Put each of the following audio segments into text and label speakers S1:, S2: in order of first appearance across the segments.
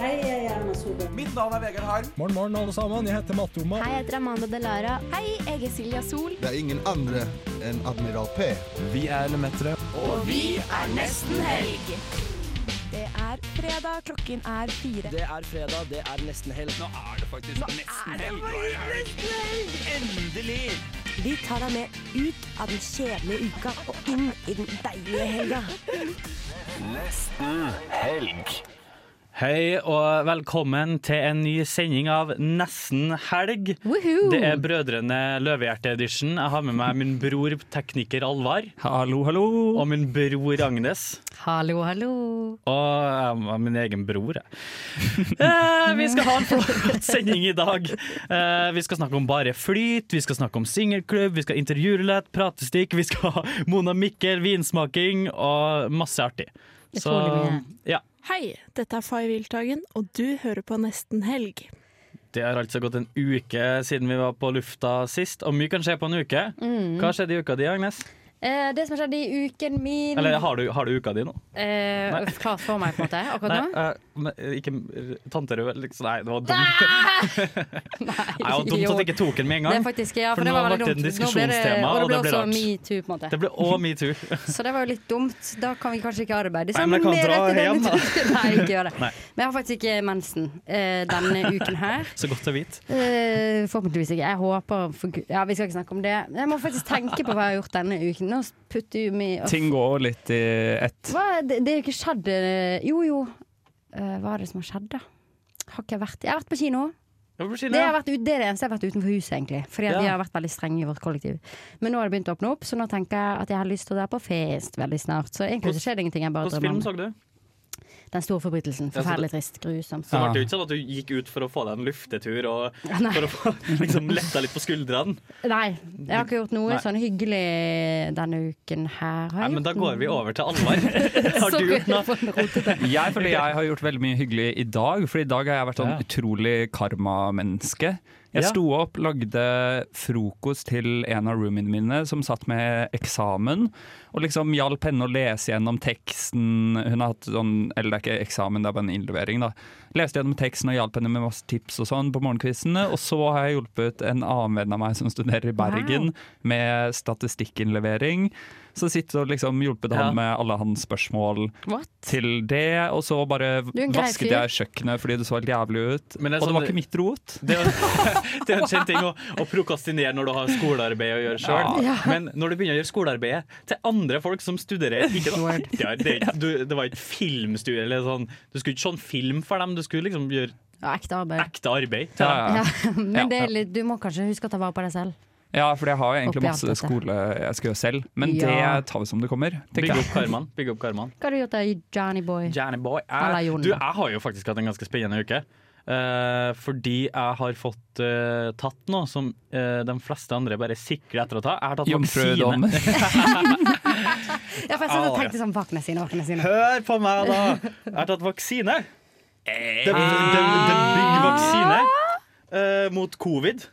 S1: Hei, jeg er Erna Solberg.
S2: Mitt navn er Vegard Harm.
S3: Morgen, morgen, alle sammen. Jeg heter Matte Oma.
S4: Hei, jeg heter Amanda Delara. Hei, jeg er Silja Sol.
S5: Det er ingen andre enn Admiral P.
S3: Vi er Lemetere.
S6: Og vi er nesten helg.
S4: Det er fredag, klokken er fire.
S6: Det er fredag, det er nesten helg.
S2: Nå er det faktisk nesten helg. Endelig!
S7: Vi tar deg med ut av den kjedelige uka og inn i den deilige helga.
S2: Nesten helg.
S8: Hei og velkommen til en ny sending av Nesten helg.
S4: Woohoo!
S8: Det er Brødrene Løvehjerte-edition. Jeg har med meg min bror tekniker Alvar.
S9: Hallo, hallo.
S8: Og min bror Agnes.
S4: Hallo, hallo.
S8: Og jeg er min egen bror, jeg. Eh, vi skal ha en flott sending i dag. Eh, vi skal snakke om Bare flyt, vi skal snakke om singelklubb, vi skal intervjue litt, pratestikk, vi skal ha Mona Mikkel, vinsmaking og masse artig.
S4: Utrolig mye.
S8: ja.
S10: Hei, dette er Fay Wiltagen, og du hører på Nesten helg.
S8: Det har altså gått en uke siden vi var på lufta sist, og mye kan skje på en uke.
S4: Mm.
S8: Hva skjedde i uka di, Agnes?
S4: Eh, det som har skjedd i uken min
S8: Eller har du, har du uka di nå?
S4: eh, Klar for meg, på en måte, akkurat nå.
S8: Nei, eh, men, eh, ikke eh, tante Rød, liksom. Nei, det var dumt. Nei, det var dumt
S4: jo.
S8: at jeg ikke tok den med en
S4: Ah! Det
S8: gang.
S4: er faktisk, ja, for,
S8: For
S4: det
S8: nå
S4: var
S8: ble det en
S4: veldig dumt. Nå ble
S8: diskusjonstema,
S4: og
S8: og
S4: det
S8: det
S4: ble
S8: ble
S4: også
S8: rart.
S4: metoo, på en måte.
S8: Det ble òg metoo.
S4: Så det var jo litt dumt. Da kan vi kanskje ikke arbeide
S8: Nei, men jeg kan
S4: mer
S8: dra
S4: etter denne
S8: hjem, da.
S4: turen. Nei, ikke gjør det.
S8: Nei.
S4: Men jeg har faktisk ikke mensen eh, denne uken her.
S8: Så godt å vite.
S4: Eh, forhåpentligvis ikke. Jeg håper for Gud. Ja, vi skal ikke snakke om det. Jeg må faktisk tenke på hva jeg har gjort denne uken. Nå putter jo mye
S9: Ting går litt i ett.
S4: Hva er det, det er jo ikke skjedd eh, Jo, jo. Eh, hva er det som har skjedd, da? Har ikke jeg vært Jeg har vært på kino.
S8: Det var på
S4: Det,
S8: Kina,
S4: har
S8: ja.
S4: vært, ut- det er det eneste jeg har vært utenfor huset, egentlig. Fordi at
S8: Ja.
S4: vi har vært veldig strenge i vårt kollektiv. Men nå har det begynt å åpne opp, så nå tenker jeg at jeg har lyst til å dra på fest veldig snart. Så egentlig så skjer det ingenting. Jeg bare
S8: Hvilken
S4: drømmer
S8: film
S4: om det.
S8: så du?
S4: Den store forbrytelsen.
S8: Ja, så
S4: Forferdelig
S8: det-
S4: trist. Grusomt.
S8: Så det ble jo ikke sånn at du gikk ut for å få deg en luftetur og
S4: Nei.
S8: for å få liksom, letta litt på skuldrene.
S4: Nei, jeg har ikke gjort noe
S8: Nei.
S4: sånn hyggelig denne uken her. Har
S8: Nei,
S4: jeg
S8: men da
S4: gjort
S8: går vi over til Alvar. Har du gjort noe?
S9: Jeg føler jeg har gjort veldig mye hyggelig i dag, for i dag har jeg vært sånn
S8: Ja.
S9: utrolig karmamenneske. Jeg
S8: Ja.
S9: sto opp, lagde frokost til en av roomiene mine som satt med eksamen, og liksom hjalp henne å lese gjennom teksten. Hun har hatt sånn, eller det er ikke eksamen, det er bare en innlevering, da. Leste gjennom teksten og hjalp henne med masse tips og sånn på morgenkvistene. Og så har jeg hjulpet en annen venn av meg som studerer i Bergen, med statistikkinnlevering. Så sitter jeg og liksom hjulpet
S8: Ja.
S9: han med alle hans spørsmål
S4: What?
S9: til det, og så bare
S4: er en grei
S9: vasket
S4: fyr.
S9: jeg kjøkkenet fordi det så helt jævlig ut.
S8: Men det er sånn-
S9: og det var ikke mitt rot.
S8: Det er jo- det er jo en kjent ting å, å prokrastinere når du har skolearbeid å gjøre sjøl. Men når du begynner å gjøre skolearbeidet til andre folk som studerer ikke noe artigere. det, er ikke- du, det var ikke filmstudie eller sånn. Du skulle ikke sånn film for dem, du skulle liksom gjøre
S4: Ja, ekte arbeid.
S8: ekte arbeid. til
S9: Ja,
S8: dem.
S9: ja.
S4: Ja,
S9: Ja.
S4: men det er litt, du må kanskje huske å ta vare på deg selv.
S9: ja, for jeg har jo egentlig
S4: Oppi alt
S9: masse
S4: dette.
S9: skole jeg skal gjøre selv, men
S4: Ja.
S9: det tar vi som det kommer.
S8: Bygge
S9: tenker jeg.
S8: opp karmaen. Bygge opp karmaen.
S4: Hva har du gjort da, Johnny boy?
S8: Johnny boy.
S4: Eller
S8: Jeg,
S4: Jon.
S8: du, jeg har jo faktisk hatt en ganske spennende uke. Eh, fordi jeg har fått eh, tatt noe som eh, de fleste andre bare sikrer etter å ta. Jeg har tatt vaksine.
S9: Jomfrudom.
S4: Ja, for jeg satt og tenkte sånn Vakne sine, vakne sine.
S8: Hør på meg, da! Jeg har tatt vaksine. Det, det, det bygger vaksine eh, mot covid.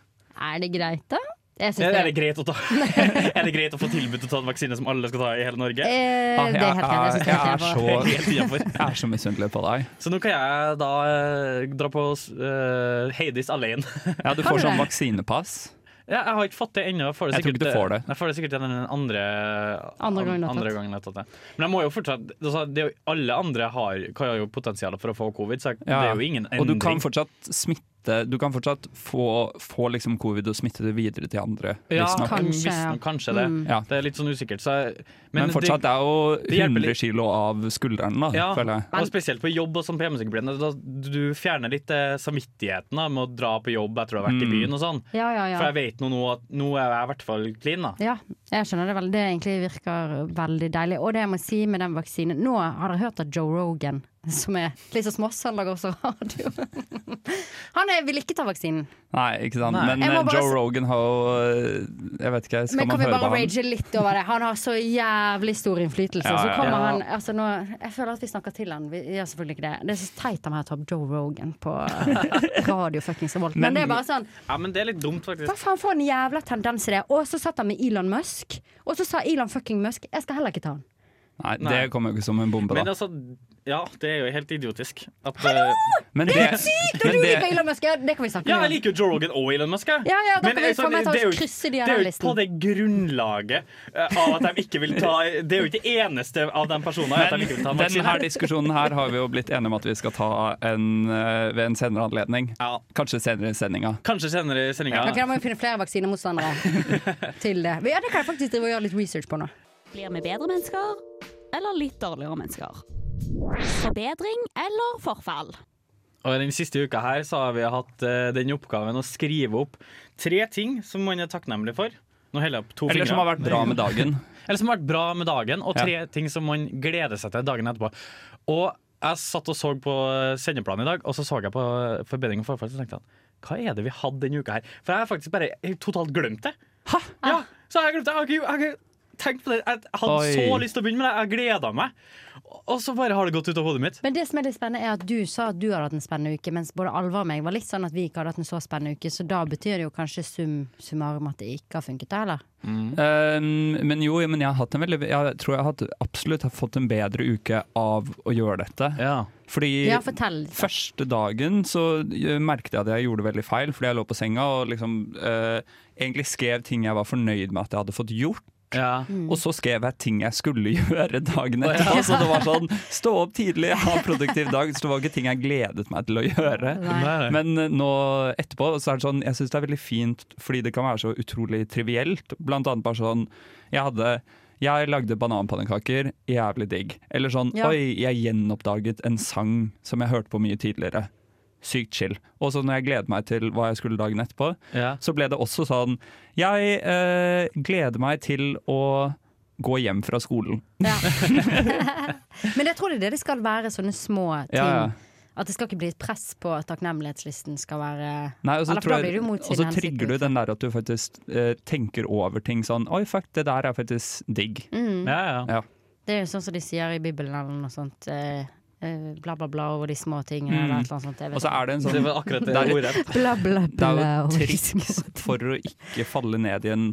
S4: Er det greit, da? Jeg syns
S8: Er,
S4: det.
S8: er, det greit å ta, er det greit å få tilbud til å ta en vaksine som alle skal ta i hele Norge?
S4: Eh,
S9: Ah,
S4: det er helt greit. Jeg
S9: jeg,
S4: synes
S9: jeg,
S4: det er
S9: er
S4: helt
S9: så,
S4: bra.
S8: Helt innenfor.
S9: jeg er så misunnelig på deg.
S8: Så nå kan jeg da eh, dra på eh, Heidis alene.
S9: Ja, du
S4: Har du
S9: får sånn
S4: det?
S9: vaksinepass.
S8: Ja, jeg har ikke fått det ennå. Jeg får det
S9: Jeg tror ikke
S8: sikkert- eh,
S9: du får det.
S8: Jeg får det sikkert igjen den andre,
S4: Andre gangen du har
S8: andre
S4: tatt.
S8: gangen jeg har tatt det. Men jeg må jo fortsatt altså, det er jo, Alle andre har, har jo potensial for å få covid, så jeg- det
S9: Ja.
S8: er jo ingen endring.
S9: Og du kan fortsatt smitte Du kan fortsatt få, få liksom covid og smitte det videre til andre.
S8: ja,
S9: visstnok.
S8: kanskje,
S4: Kanskje, ja.
S8: kanskje det.
S9: Ja.
S8: Det er litt sånn usikkert. Så jeg,
S9: Men, fortsatt, det er jo
S8: hjelper
S9: 100
S8: litt.
S9: kilo av skulderen, da,
S8: ja,
S9: føler jeg.
S8: og spesielt på jobb og sånn PM-sykepleien. Du fjerner litt eh, samvittigheten da, med å dra på jobb etter du har vært i
S9: Mm.
S8: byen og sånn.
S4: Ja, ja,
S8: For
S4: ja.
S8: jeg vet nå nå at nå er jeg i hvert fall clean, da.
S4: Ja, jeg skjønner det veldig. Det egentlig virker veldig deilig. Og det jeg må si med den vaksinen Nå har dere hørt at Joe Rogan, som er litt så småss, han lager også radio. Han er, vil ikke ta vaksinen.
S9: Nei, ikke sant.
S8: Nei.
S9: Men
S4: Jeg må
S9: eh,
S4: bare
S9: Joe
S4: s-
S9: Rogan har jo eh, Jeg vet ikke, skal
S4: Men kan
S9: man
S4: vi
S9: høre
S4: bare
S9: på han?
S4: rage litt over det? Han har så jævlig stor innflytelse.
S9: Ja, ja,
S4: Så kommer
S8: ja.
S4: han altså nå, Jeg føler at vi snakker til han. Vi gjør selvfølgelig ikke det. Det er så teit av meg å ta opp Joe Rogan på radio fuckings revolt. Men,
S9: Men-
S4: det er bare sånn
S8: Ja, men det er litt dumt, faktisk.
S4: Hva faen for en jævla tendens det er? Og så satt han med Elon Musk, og så sa Elon fucking Musk Jeg skal heller ikke ta han.
S9: Nei,
S8: Nei.
S9: det kommer jo ikke som en bombe,
S8: Men
S9: da.
S8: altså, ja, det er jo helt idiotisk. At, eh,
S9: Men det,
S4: Helt sykt! Og
S9: men
S4: du
S9: det-
S4: liker Elon Musk! Ja, det kan vi snakke
S8: ja,
S4: om.
S8: jeg liker jo Joe Rogan og Elon Musk. jeg.
S4: Ja, ja, da
S8: Men,
S4: kan vi
S8: eh,
S4: få
S8: sånn,
S4: meg til
S8: det er
S4: å
S8: jo-
S4: krysse de
S8: Det er
S4: her
S8: jo ikke på
S4: listen.
S8: det grunnlaget eh, av at de ikke vil ta Det er jo ikke det eneste av de personene at de ikke vil ta en
S9: den
S8: vaksine.
S9: her diskusjonen her har vi jo blitt enige om at vi skal ta en, eh, ved en senere anledning.
S8: Ja,
S9: Kanskje senere i sendinga.
S8: kanskje senere i sendinga.
S4: Ok, Da må vi finne flere vaksinemotstandere til det. Ja, det kan jeg faktisk drive og gjøre litt research på nå.
S1: Blir vi bedre mennesker, eller litt dårligere mennesker? Forbedring eller forfall?
S8: Og den siste uka her så har vi hatt eh, den oppgaven å skrive opp tre ting som man er takknemlig for. Nå heller jeg opp to
S9: Eller som
S8: fingre.
S9: har vært bra med dagen.
S8: Eller som har vært bra med dagen, og tre ting som man gleder seg til dagen etterpå. Og jeg satt og så på eh, sendeplanen i dag, og så så jeg på eh, Forbedring og forfall, så tenkte jeg hva er det vi hadde denne uka her? For jeg har faktisk bare helt totalt glemt det. Hæ? Ja, så jeg har glemt det. Jeg har ikke- Jeg har ikke tenkt på det. Jeg hadde
S9: Oi.
S8: så lyst til å begynne med det. Jeg gleda meg. Og så bare har det gått ut av hodet mitt.
S4: Men det som er litt spennende er at du sa at du hadde hatt en spennende uke, mens både Alva og meg var litt sånn at vi ikke hadde hatt en så spennende uke, så da betyr det jo kanskje sum summarum at det ikke har funket, da, eller?
S8: Mm.
S9: Um, men jo, men jeg, har hatt en veldig, jeg tror jeg har hatt, absolutt har fått en bedre uke av å gjøre dette.
S8: Ja.
S9: Fordi
S4: Ja, fortell.
S9: første dagen så eh, merket jeg at jeg gjorde veldig feil, fordi jeg lå på senga og liksom eh, egentlig skrev ting jeg var fornøyd med at jeg hadde fått gjort.
S8: ja.
S9: Og så skrev jeg ting jeg skulle gjøre dagen etterpå. Så det var sånn stå opp tidlig, ha en produktiv dag. Så det var ikke ting jeg gledet meg til å gjøre.
S8: Nei.
S9: Men eh, nå etterpå så er det sånn, jeg syns det er veldig fint fordi det kan være så utrolig trivielt. Blant annet bare sånn Jeg hadde jeg lagde bananpannekaker, jævlig digg. Eller sånn
S4: Ja.
S9: Oi, jeg gjenoppdaget en sang som jeg hørte på mye tidligere. Sykt chill. Og så når jeg gleder meg til hva jeg skulle dagen etterpå,
S8: Ja.
S9: så ble det også sånn Jeg eh, gleder meg til å gå hjem fra skolen.
S4: Ja. Men jeg tror det er det det skal være, sånne små ting.
S9: Ja, ja.
S4: At det skal ikke bli et press på at takknemlighetslisten skal være
S9: Nei, og så,
S4: Eller for
S9: tror
S4: da blir det
S9: jeg,
S4: jo mot
S9: og så
S4: sin hensikt, liksom.
S9: trigger du den der at du faktisk eh, tenker over ting sånn Oi, fuck, det der er faktisk digg.
S8: Ja, ja.
S9: Ja.
S4: Det er jo sånn som de sier i Bibelen eller noe sånt. Eh, eh, bla, bla, bla over de små tingene eller et eller annet sånt. Jeg vet
S9: Mm. Og så
S4: ikke.
S9: er det en
S8: Det
S9: sånn
S8: var akkurat det
S9: Der-
S8: ordet.
S4: Bla, bla,
S9: Det
S4: bla.
S9: er jo
S4: over de små-
S9: trikset for å ikke falle ned i en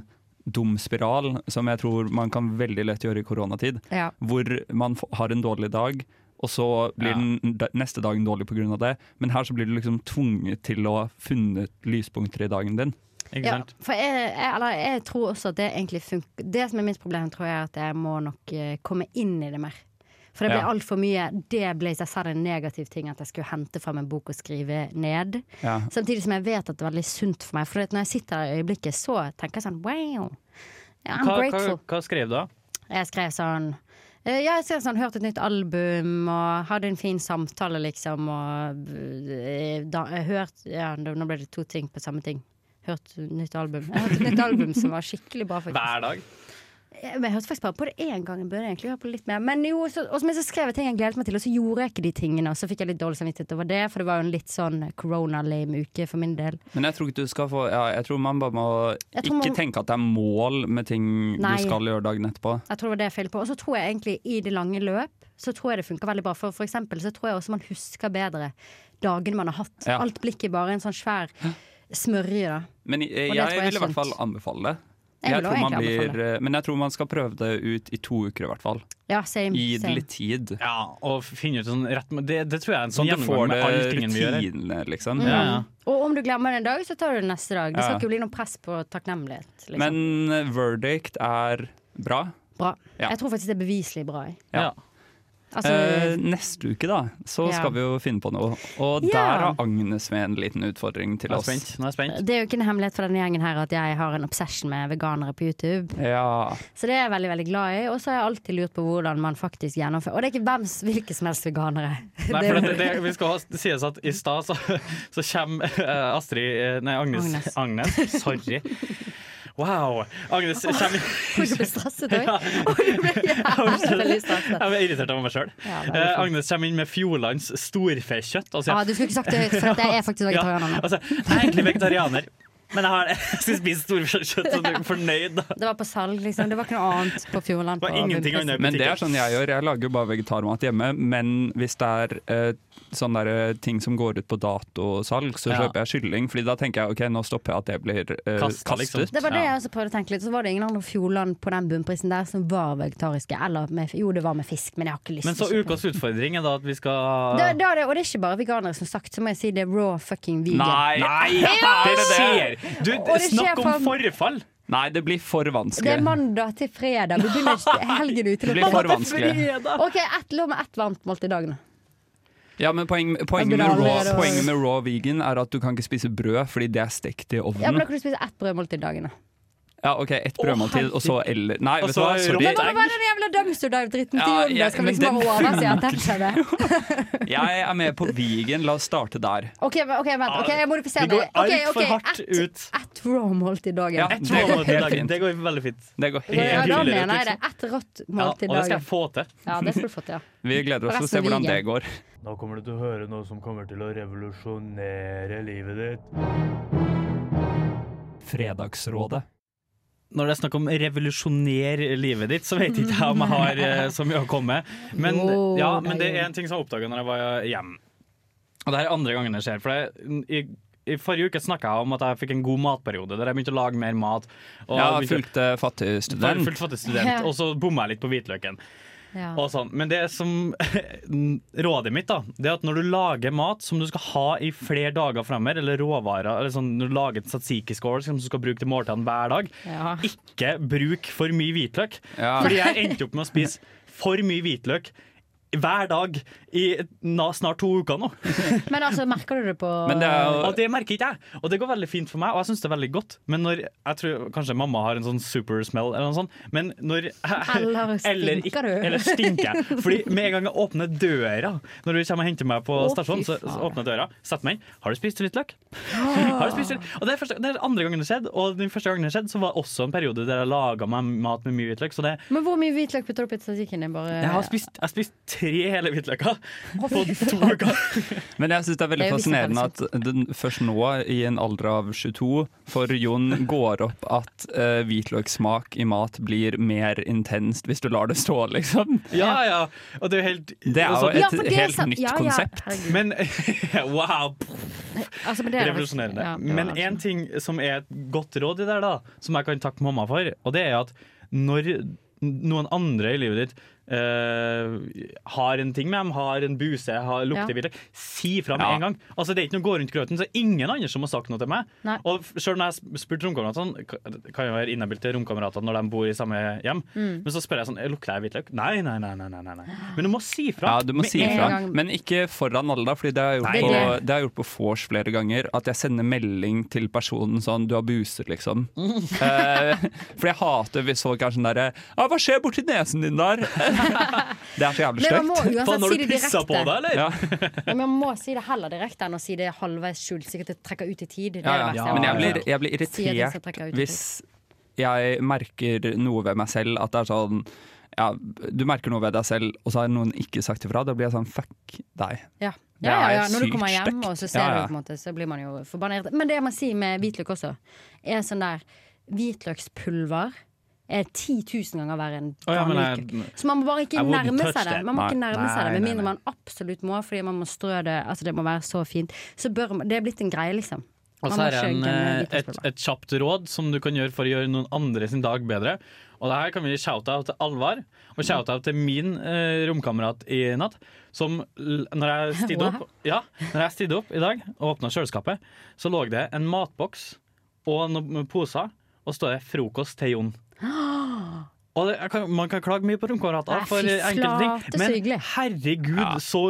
S9: dum spiral, som jeg tror man kan veldig lett gjøre i koronatid.
S4: Ja.
S9: Hvor man f- har en dårlig dag, og så blir
S8: Ja.
S9: den da- neste dagen dårlig pga. det. Men her så blir du liksom tvunget til å ha funnet lyspunkter i dagen din.
S8: Ikke
S4: Ja,
S8: sant?
S4: for jeg, jeg, eller jeg tror også at det egentlig funker Det som er mitt problem, tror jeg er at jeg må nok eh, komme inn i det mer. For det ble
S9: Ja.
S4: altfor mye Det ble i seg selv en negativ ting at jeg skulle hente fram en bok og skrive ned.
S9: Ja.
S4: Samtidig som jeg vet at det er veldig sunt for meg. For du vet, når jeg sitter her i øyeblikket, så tenker jeg sånn wow. I'm
S8: Hva, hva,
S4: grateful.
S8: hva skrev du, da?
S4: Jeg skrev sånn eh, ja, jeg skrev sånn, hørte et nytt album og hadde en fin samtale, liksom. Og eh, da, jeg hørt, ja, nå ble det to ting på samme ting. Hørt nytt album. Jeg hørte et nytt album som var skikkelig bra. faktisk
S8: Hver dag?
S4: jeg, men jeg hørte faktisk bare på det én gang. Jeg burde egentlig høre på det litt mer. Men jo, så, og så, men så skrev jeg ting jeg gledet meg til, og så gjorde jeg ikke de tingene. Og så fikk jeg litt dårlig samvittighet over det, for det var jo en litt sånn corona-lame uke for min del.
S9: Men jeg tror ikke du skal få ja, Jeg tror man bare må
S4: Jeg
S9: ikke
S4: tror man-
S9: tenke at det er mål med ting
S4: Nei.
S9: du skal gjøre dagen etterpå.
S4: Jeg tror det var det jeg feilet på. Og så tror jeg egentlig i det lange løp så tror jeg det funker veldig bra. For, for eksempel så tror jeg også man husker bedre dagen man har hatt.
S9: Ja.
S4: Alt blikket bare en sånn svær smørje, da.
S9: Men jeg,
S4: Og det tror
S9: jeg
S4: jeg
S9: vil i
S4: er
S9: hvert fall
S4: sunt.
S9: anbefale det.
S4: Jeg vil
S9: Jeg tror
S4: også
S9: man
S4: egentlig
S9: blir, eh,
S4: anbefale
S9: men jeg tror man skal prøve det ut i to uker i hvert fall.
S4: Ja, same.
S9: Gi det
S4: same.
S9: litt tid.
S8: Ja, og finne ut sånn rett Det, det tror jeg er en sånn
S9: Sånn at
S8: gjennomgang
S9: du får det
S8: med alle tingene vi gjør.
S9: rutinene, liksom.
S4: Mm,
S8: Ja, ja.
S4: Og om du glemmer det en dag, så tar du det neste dag. Det skal
S9: Ja.
S4: ikke bli noe press på takknemlighet. Liksom.
S9: Men eh, verdict er bra.
S4: bra.
S9: ja.
S4: Jeg tror faktisk det er beviselig bra. jeg.
S9: Ja.
S8: Ja.
S4: Altså,
S9: Eh, neste uke, da, så
S4: Ja.
S9: skal vi jo finne på noe. Og
S4: Ja.
S9: der har Agnes med en liten utfordring til
S8: Nå er jeg
S9: oss.
S8: spent. Nå er jeg spent.
S4: Det er jo ikke en hemmelighet for denne gjengen her at jeg har en obsession med veganere på YouTube.
S9: Ja.
S4: Så det er jeg veldig veldig glad i. Og så har jeg alltid lurt på hvordan man faktisk gjennomfører Og det er ikke hvem s- hvilke som helst veganere.
S8: Nei,
S4: Det er
S8: for
S4: jo-
S8: det, det, vi skal ha- sies at i stad så, så kommer eh, Astrid eh, Nei, Agnes. Agnes. sorry. Wow. Agnes kommer
S4: Kan du bli stresset òg?
S8: Ja.
S4: Du blir jævlig stresset.
S8: Jeg ble irritert over meg sjøl.
S4: Ja, veldig flott.
S8: Agnes kommer inn med Fjordlands storfekjøtt. Altså, Og sier,
S4: Ah, du skulle ikke sagt det høyt, for at jeg er faktisk vegetarianer nå.
S8: altså, jeg er egentlig vegetarianer. Men jeg, har, jeg skal spise storfekjøtt, så du er fornøyd, da.
S4: Det var på salg, liksom. Det var ikke noe annet på Fjordland.
S8: Det var
S4: på
S8: ingenting
S4: bunnprisen.
S8: annet.
S9: Men det er sånn jeg gjør. Jeg lager jo bare vegetarmat hjemme. Men hvis det er eh, sånne der, eh, ting som går ut på datosalg, så
S8: Ja.
S9: kjøper jeg kylling. Fordi da tenker jeg ok, nå stopper jeg at det blir eh,
S8: Kastet, liksom.
S9: kastet.
S4: Det var det
S8: Ja.
S4: jeg også prøvde å tenke litt. Så var det ingen andre Fjordland på den bunnprisen der som var vegetariske. Eller med, jo, det var med fisk, men jeg har ikke lyst
S8: Men så
S4: til å kjøpe
S8: ukas utfordring er da at vi skal
S4: det, det, er det, og det er ikke bare veganere, som sagt. Så må jeg si det er raw fucking vegan.
S9: Nei!
S8: Det skjer!
S9: det?
S8: Du,
S4: Og det skjer
S8: snakk om
S4: faen-
S8: forfall!
S9: Nei, det blir for
S4: Det er
S9: vanskelig.
S4: mandag til fredag. Vi begynner ikke helgen ute.
S9: Det blir for vanskelig.
S4: OK, ett, la meg ett varmt måltid i dag, nå.
S9: Ja, men poeng,
S4: Det
S9: poenget, med
S4: blir
S9: raw,
S4: aldri-
S9: poenget med raw vegan er at du kan ikke spise brød fordi det er stekt i
S4: Ja, men da
S8: Mhm.
S9: ovnen.
S4: kan du spise ett brødmåltid i dagen. da.
S9: Ja, ok, Ett brødmåltid, og så eller Nei,
S8: Og
S9: vet du
S8: så
S9: hva, sorry.
S8: rått.
S4: Men hva var den jævla dumpster dive-dritten til
S9: Ja,
S4: Jon? da?
S9: jeg-
S4: Skal vi
S9: men
S4: liksom
S9: den
S4: bare overse at den skjedde?
S9: Jeg er med på vegan, la oss starte der.
S4: OK, men- ok, vent. ok, Jeg modifiserer
S8: Vi går
S4: det. Ok,
S8: alt for
S4: ok,
S8: hardt
S4: ett-
S8: ut.
S4: Ett raw måltid i dagen.
S9: Ja,
S8: Jeg
S9: det
S8: tror
S9: går
S8: det,
S9: helt
S8: går
S9: fint.
S8: det går veldig fint.
S9: Det går helt
S4: Ja, da
S8: hyller ut,
S4: mener jeg det.
S8: liksom.
S4: Ett rått
S8: Ja, og
S4: måltid i
S8: det skal jeg
S4: dagen.
S8: få til.
S4: Ja, det skulle du fått, ja.
S9: Vi gleder oss til å
S4: Resten
S9: se
S4: er
S9: hvordan
S4: vegan.
S9: det går.
S11: Nå kommer du til å høre noe som kommer til å revolusjonere livet ditt.
S9: Fredagsrådet.
S8: Når det er snakk om revolusjoner livet ditt, så vet ikke jeg om jeg har eh, så mye å komme med. Men,
S4: Jo,
S8: ja, men det
S4: det er
S8: er en ting som jeg oppdaga når jeg var hjemme. Og det her er andre gangen det skjer. For jeg, i, I forrige uke snakka jeg om at jeg fikk en god matperiode, der jeg begynte å lage mer mat. Og
S9: Ja,
S8: jeg begynte-
S9: fulgt eh, fattig
S8: var
S9: student.
S8: fullt fattig student, og så bomma jeg litt på hvitløken.
S4: ja.
S8: Og sånn. Men det som rådet mitt da Det er at når du lager mat som du skal ha i flere dager fremover, eller råvarer eller sånn, Når du lager en tzatziki skål som du skal bruke til måltidene hver dag,
S4: Ja.
S8: ikke bruk for mye hvitløk.
S9: Ja.
S8: Fordi jeg endte opp med å spise for mye hvitløk hver dag i na, snart to uker nå.
S4: Men altså, merker du det på
S9: Men det er jo
S8: Og det merker ikke jeg. Og det går veldig fint for meg, og jeg syns det er veldig godt. Men når jeg tror kanskje mamma har en sånn super smell eller noe sånt, men når
S4: Eller stinker
S8: eller ikke-
S4: du?
S8: Eller stinker jeg. Fordi med en gang jeg åpner døra, når du kommer og henter meg på
S4: Å,
S8: stasjonen,
S4: fy
S8: så
S4: faen. Ah.
S8: så åpner jeg døra, setter meg inn, har du spist hvitløk? Har du spist hvitløk? Og det er, første, det er andre gangen det skjedde, og den første gangen det skjedde, så var det også en periode der jeg laga meg mat med mye hvitløk, så det
S4: Men hvor mye hvitløk putter du opp i statistikken din? Bare
S8: jeg har spist, jeg har spist tre hele hvitløker på to uker.
S9: Men jeg syns det er veldig
S4: Det er jo
S9: fascinerende at den først nå, i en alder av 22, for Jon går opp at eh, hvitløkssmak i mat blir mer intenst hvis du lar det stå, liksom.
S8: Ja, ja. Og det er jo helt
S9: Det er jo
S8: altså,
S9: et
S4: Ja, for det er
S9: helt
S4: sant.
S9: nytt
S4: Ja, ja.
S9: konsept.
S4: Herregud.
S8: Men wow!
S4: Altså, men det er det-
S8: Revolusjonerende.
S4: Ja, det var
S8: Men
S4: det.
S8: én ting som er et godt råd i det, der da som jeg kan takke mamma for, og det er at når noen andre i livet ditt eh, har en ting med dem, har en buse, har
S4: Ja.
S8: luktebiler, si fra med
S9: Ja.
S8: en gang. Altså Det er ikke noe å gå rundt grøten, så ingen andre som har sagt noe til meg.
S4: Nei.
S8: Og f- selv når jeg spurte romkameratene, k- kan jo være inhabil til romkameratene når de bor i samme hjem,
S4: Mm.
S8: men så spør jeg sånn Lukter jeg hvitløk? Nei, nei, nei. nei, nei, nei, nei. Men du må si fra.
S9: Ja, du må
S8: med
S9: si
S8: en
S9: ifra.
S8: gang.
S4: gang.
S9: Men ikke foran alle, da, fordi det har jeg
S4: Nei,
S9: gjort, på,
S4: det-
S9: det har jeg gjort på vors flere ganger. At jeg sender melding til personen sånn 'du har buser', liksom. Eh, for jeg hater hvis folk er sånn derre 'ja, hva skjer borti nesen din der?' det er så jævlig
S4: Men man må
S8: Faen,
S9: stygt.
S4: uansett
S8: har
S4: si
S8: du
S4: det
S8: pissa på deg,
S4: direkte.
S8: eller?
S9: Ja.
S4: Men man må si det heller direkte enn å si det halvveis skjult. Sikkert det trekker ut i tid. Det er
S9: Ja,
S4: det
S9: ja.
S4: verste.
S9: Men jeg
S4: vet.
S9: blir, jeg blir
S4: Si at de skal trekke
S9: irritert
S4: ut i
S9: hvis jeg merker noe ved meg selv at det er sånn ja, Du merker noe ved deg selv, og så har noen ikke sagt ifra. Da blir jeg sånn fuck deg.
S4: Ja.
S9: Det
S4: Ja, ja, ja.
S9: er
S4: Når du
S9: sykt
S4: kommer hjem
S9: stygt.
S4: og så ser
S9: Ja, ja.
S4: du på en måte, så blir man jo forbanna. irritert. Men det man sier med hvitløk også, er sånn der Hvitløkspulver er 10 000 ganger verre enn
S8: Å, ja, men
S4: vanlig
S8: jeg-
S4: hvitløk. Så man må bare ikke
S8: I wouldn't
S4: nærme
S8: touch
S4: seg det.
S8: that.
S4: Man må ikke
S9: Nei.
S4: nærme seg det,
S8: Nei,
S4: Med
S8: nei,
S4: mindre man absolutt må, fordi man må strø det Altså, det må være så fint. Så bør man Det er blitt en greie, liksom.
S8: Og
S4: Man
S8: så
S4: må
S8: er det en,
S4: skjønne
S8: eh, et,
S4: hvitløkspulver.
S8: et kjapt råd som du kan gjøre for å gjøre noen andre sin dag bedre. Og det her kan vi gi shout-out til Alvar, og shout-out til min eh, romkamerat i natt. Som l- når jeg stidde opp, ja, når jeg stidde opp i dag og åpna kjøleskapet, så lå det en matboks og noen poser, og så står det 'frokost til Jon'. Og det, jeg kan, Man kan klage mye på
S4: Nei,
S8: romkamerater for
S4: fy
S8: enkelte
S4: flate,
S8: ting,
S4: så
S8: men
S4: hyggelig.
S8: herregud, så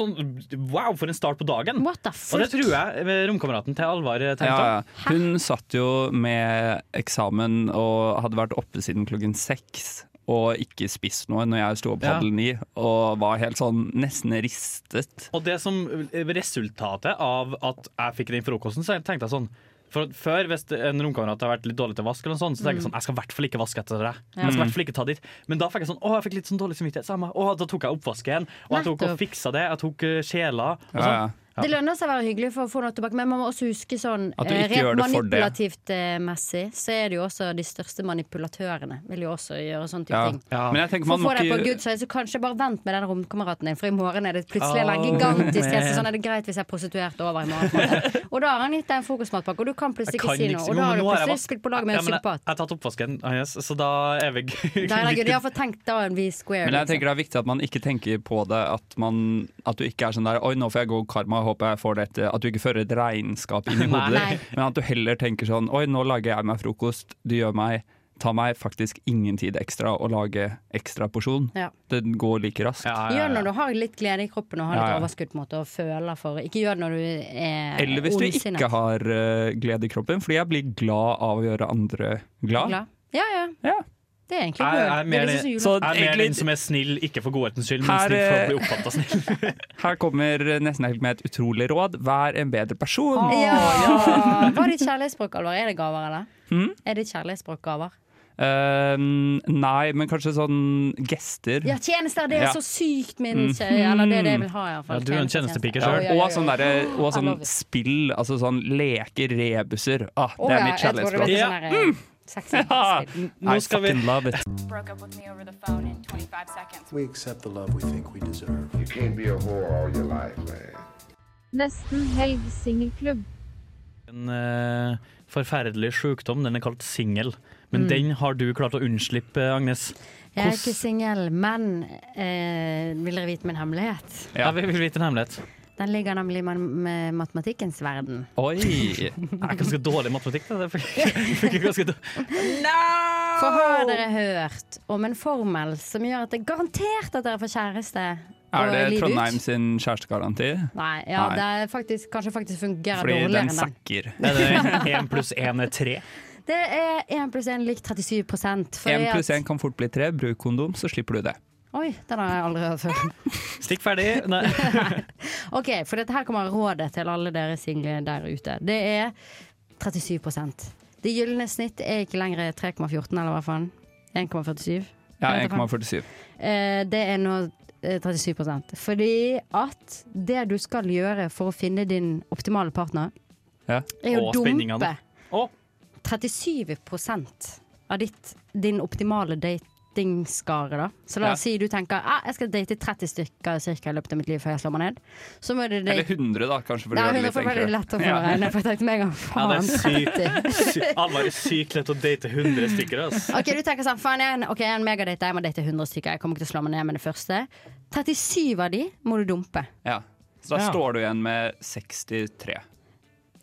S8: sånn, Wow, for en start på dagen!
S4: What the
S8: Og det
S4: fuck?
S8: tror jeg eh, romkameraten til Alvar eh, tenkte.
S9: Ja,
S8: Ja,
S9: ja. Hun satt jo med eksamen og hadde vært oppe siden klokken seks. Og ikke spist noe når jeg sto opp
S8: Ja.
S9: halv ni og var helt sånn nesten ristet.
S8: Og det som eh, resultatet av at jeg fikk den frokosten, så tenkte jeg sånn for at Før, hvis en romkamerat har vært litt dårlig til å vaske, eller noe sånt, så
S4: Mm.
S8: tenker jeg sånn Jeg skal i hvert fall ikke vaske etter deg. Jeg skal i hvert fall ikke ta dit. Men da fikk jeg sånn Å, jeg fikk litt sånn dårlig samvittighet. Så jeg, må- å, da tok jeg oppvasken, og jeg tok og
S4: Nettopp.
S8: fiksa det. Jeg tok eh, kjeler og
S9: Ja, ja.
S8: sånn. Ja.
S4: Det lønner seg å være hyggelig for å få noe tilbake, men man må også huske sånn
S9: At du
S4: eh,
S9: ikke gjør det for det.
S4: manipulativt eh, messig, så er det jo også de største manipulatørene vil jo også gjøre sånne type
S9: Ja.
S4: ting.
S9: Ja. Men jeg
S4: For
S9: tenker man
S4: å få
S9: må
S4: deg på
S9: ikke-
S4: good side, så kanskje bare vent med den romkameraten din, for i morgen er det plutselig en
S9: Oh,
S4: gigantisk tese.
S9: man.
S4: Sånn er det greit hvis jeg er prostituert over i morgen. på en måte. Og da har han gitt deg en frokostmatpakke, og du kan plutselig
S8: Jeg
S4: ikke
S8: kan
S4: si
S8: ikke
S4: noe.
S8: si-
S4: Og
S8: Jo,
S4: da har
S8: nå
S4: du
S8: har jeg
S4: plutselig
S8: vært-
S4: spilt på lag med
S8: Ja,
S4: en
S8: men jeg,
S4: psykopat.
S8: jeg har tatt oppvasken, ah, yes, så da er vi
S4: Da er det gøy. De har fått tenkt da er vi square.
S9: Men jeg
S4: liksom.
S9: tenker det er viktig at man ikke tenker på det at, man, at du ikke er sånn der Oi, nå får jeg god karma, håper jeg får dette. At du ikke fører et regnskap inn i
S8: Nei.
S9: hodet
S8: Nei.
S9: ditt. Men at du heller tenker sånn Oi, nå lager jeg meg frokost. Det gjør meg Tar meg faktisk ingen tid ekstra å lage ekstra porsjon.
S4: Ja.
S9: Det går like raskt.
S4: Gjør det når du har litt glede i kroppen og har
S9: Ja,
S4: litt
S9: ja.
S4: overskudd på en måte, og føler for Ikke gjør det når du er
S9: Eller hvis du ikke har eh, glede i kroppen, fordi jeg blir glad av å gjøre andre glad.
S4: glad. Ja, ja. Det er
S8: Jeg
S4: egentlig lurt.
S8: er
S4: Det
S8: mer,
S4: er liksom
S8: så
S4: julaften.
S8: jeg er mer den som er snill, ikke for godhetens skyld, men snill
S4: eh,
S8: for å bli oppfatta snill.
S9: Her kommer nesten helt med et utrolig råd. Vær en bedre person.
S4: Ja! Hva er ditt kjærlighetsspråk, Alvar? Er Ah, det gaver, eller?
S9: Hmm?
S4: Er ditt kjærlighetsspråk gaver?
S9: Eh, nei, men kanskje sånn gester.
S4: Ja, tjenester! Det er
S9: Ja.
S4: så sykt min
S9: Mm.
S4: kjære Eller det er det jeg vil ha, iallfall.
S9: Ja, Og sånn, derre- og sånn spill, altså sånn leker, rebuser. Ah, det er mitt kjærlighetsspråk.
S4: Ja.
S9: Mm.
S4: sånn eh, Sexy. Mm.
S9: Ja.
S8: Nå
S9: I
S8: skal vi-
S9: fucking love it.
S12: Broke up with me over the phone in 25 seconds.
S13: We accept the love we think we deserve. You can't be a whore all your life, man.
S14: Nesten helg singelklubb.
S8: En eh, forferdelig sjukdom, den er kalt singel. Men
S4: Mm.
S8: den har du klart å unnslippe, Agnes.
S4: Jeg er
S8: Hvordan-
S4: ikke singel, men eh, vil dere vite min hemmelighet?
S8: Ja, vi vil vite en hemmelighet.
S4: Den ligger nemlig i ma- med matematikkens verden.
S9: Oi! Jeg
S8: er ganske dårlig i matematikk. Da. Det funker- funker ganske dårlig.
S4: For har dere hørt om en formel som gjør at det er garantert at dere får kjæreste?
S9: Er
S4: og
S9: det
S4: livet ut?
S9: Trondheim sin kjærestegaranti?
S4: Nei, ja,
S9: Nei.
S4: det er faktisk, kanskje faktisk fungerer
S9: Fordi
S4: dårligere
S9: den
S4: enn den.
S9: sakker.
S8: Er det én pluss én er tre?
S4: Det er 1 pluss 1 lik 37 fordi
S9: Én
S4: at-
S9: pluss én kan fort bli tre. Bruk kondom, så slipper du det.
S4: Oi, den har jeg aldri hørt før.
S8: Stikk ferdig. Nei.
S4: Ok, for dette her kommer rådet til alle dere single der ute. Det er 37 Det gylne snitt er ikke lenger 3,14 eller hva faen. 1,47?
S9: Ja,
S4: Eller hva faen?
S9: 1,47.
S4: Eh, Det er nå eh, 37 Fordi at det du skal gjøre for å finne din optimale partner,
S9: Ja.
S4: er å
S9: Og
S4: dumpe
S9: spenningene.
S4: 37 av ditt, din optimale datingskare. Da. Så la oss
S9: Ja.
S4: si du tenker ah, jeg skal date 30 stykker cirka, i løpet av mitt liv før jeg slår meg ned. Så må du date
S9: Eller 100, da, kanskje. For å
S4: Nei,
S9: gjøre det
S4: 100
S9: litt
S4: for det er veldig
S9: enklere.
S4: lett å
S9: Ja.
S4: forregne, for jeg tenkte med en gang
S8: Ja, det er
S4: faen,
S8: sykt
S4: 30.
S8: sykt- Alvar, det er sykt lett å date 100 stykker. ass.
S4: Ok, du tenker sånn, faen jeg er en, ok, jeg er en megadate, jeg må date 100 stykker, jeg kommer ikke til å slå meg ned med det første. 37 av de må du dumpe.
S9: Ja. Så da
S4: Ja.
S9: står du igjen med 63.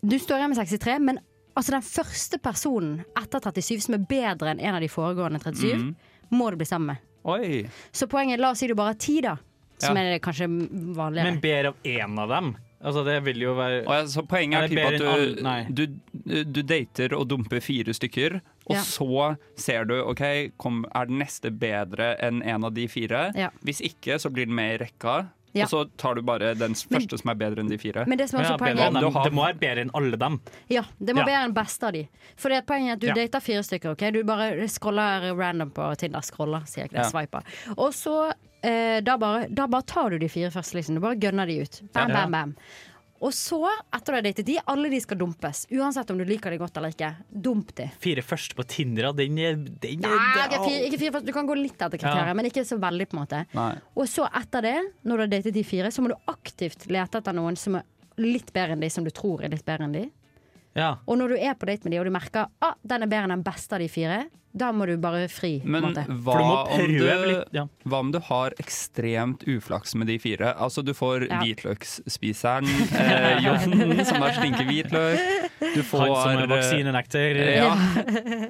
S4: Du står igjen med 63, men altså den første personen etter 37 som er bedre enn en av de foregående 37,
S9: Mhm.
S4: må du bli sammen med.
S9: Oi!
S4: Så poenget, la oss si du bare har 10 da, som
S8: Ja.
S4: er det kanskje vanligere.
S8: Men ber av én av dem. Altså, det vil jo være
S9: Og jeg- så poenget er
S8: Eller
S9: typ
S8: ber en
S9: at
S8: annen- nei.
S9: du, du, du dater og dumper fire stykker, og
S4: Ja.
S9: så ser du ok, kom, er den neste bedre enn en av de fire.
S4: Ja.
S9: Hvis ikke, så blir den med i rekka.
S4: Ja.
S9: Og så tar du bare den s- første som er bedre enn de fire.
S4: men det som er også Ja, bedre poenget- enn
S9: Om du
S8: dem.
S9: har-
S8: Det må være bedre enn alle dem.
S4: Ja, det
S8: Ja.
S4: må være den beste av de. For det er poenget er at du
S8: Ja.
S4: dater fire stykker. ok? Du bare scroller random på Tinder. Scroller, sier jeg
S8: Ja.
S4: ikke det. Swiper. Og så eh, da, bare, da bare tar du de fire først, liksom. Du bare gønner de ut. Bam,
S15: Ja.
S4: bam, bam. Og så, etter du har datet de, alle de skal dumpes. Uansett om du liker de godt eller ikke. Dump de.
S8: Fire første på Tinder, den er, den er
S4: Nei, ikke fire, ikke fire først. Du kan gå litt etter kriteriet,
S8: Ja.
S4: men ikke så veldig, på en måte.
S8: Nei.
S4: Og så etter det, når du har datet de fire, så må du aktivt lete etter noen som er litt bedre enn de, som du tror er litt bedre enn de.
S8: Ja.
S4: Og når du er på date med de og du merker at ah, den er bedre enn den beste av de fire, da må du bare fri. på en
S9: Men
S4: måte.
S9: hva om, du, hva om du har ekstremt uflaks med de fire? Altså du får
S4: Ja.
S9: hvitløksspiseren eh, Jon, som er stinker hvitløk. Du får
S8: Han som er vaksinenekter.
S9: eh, Ja.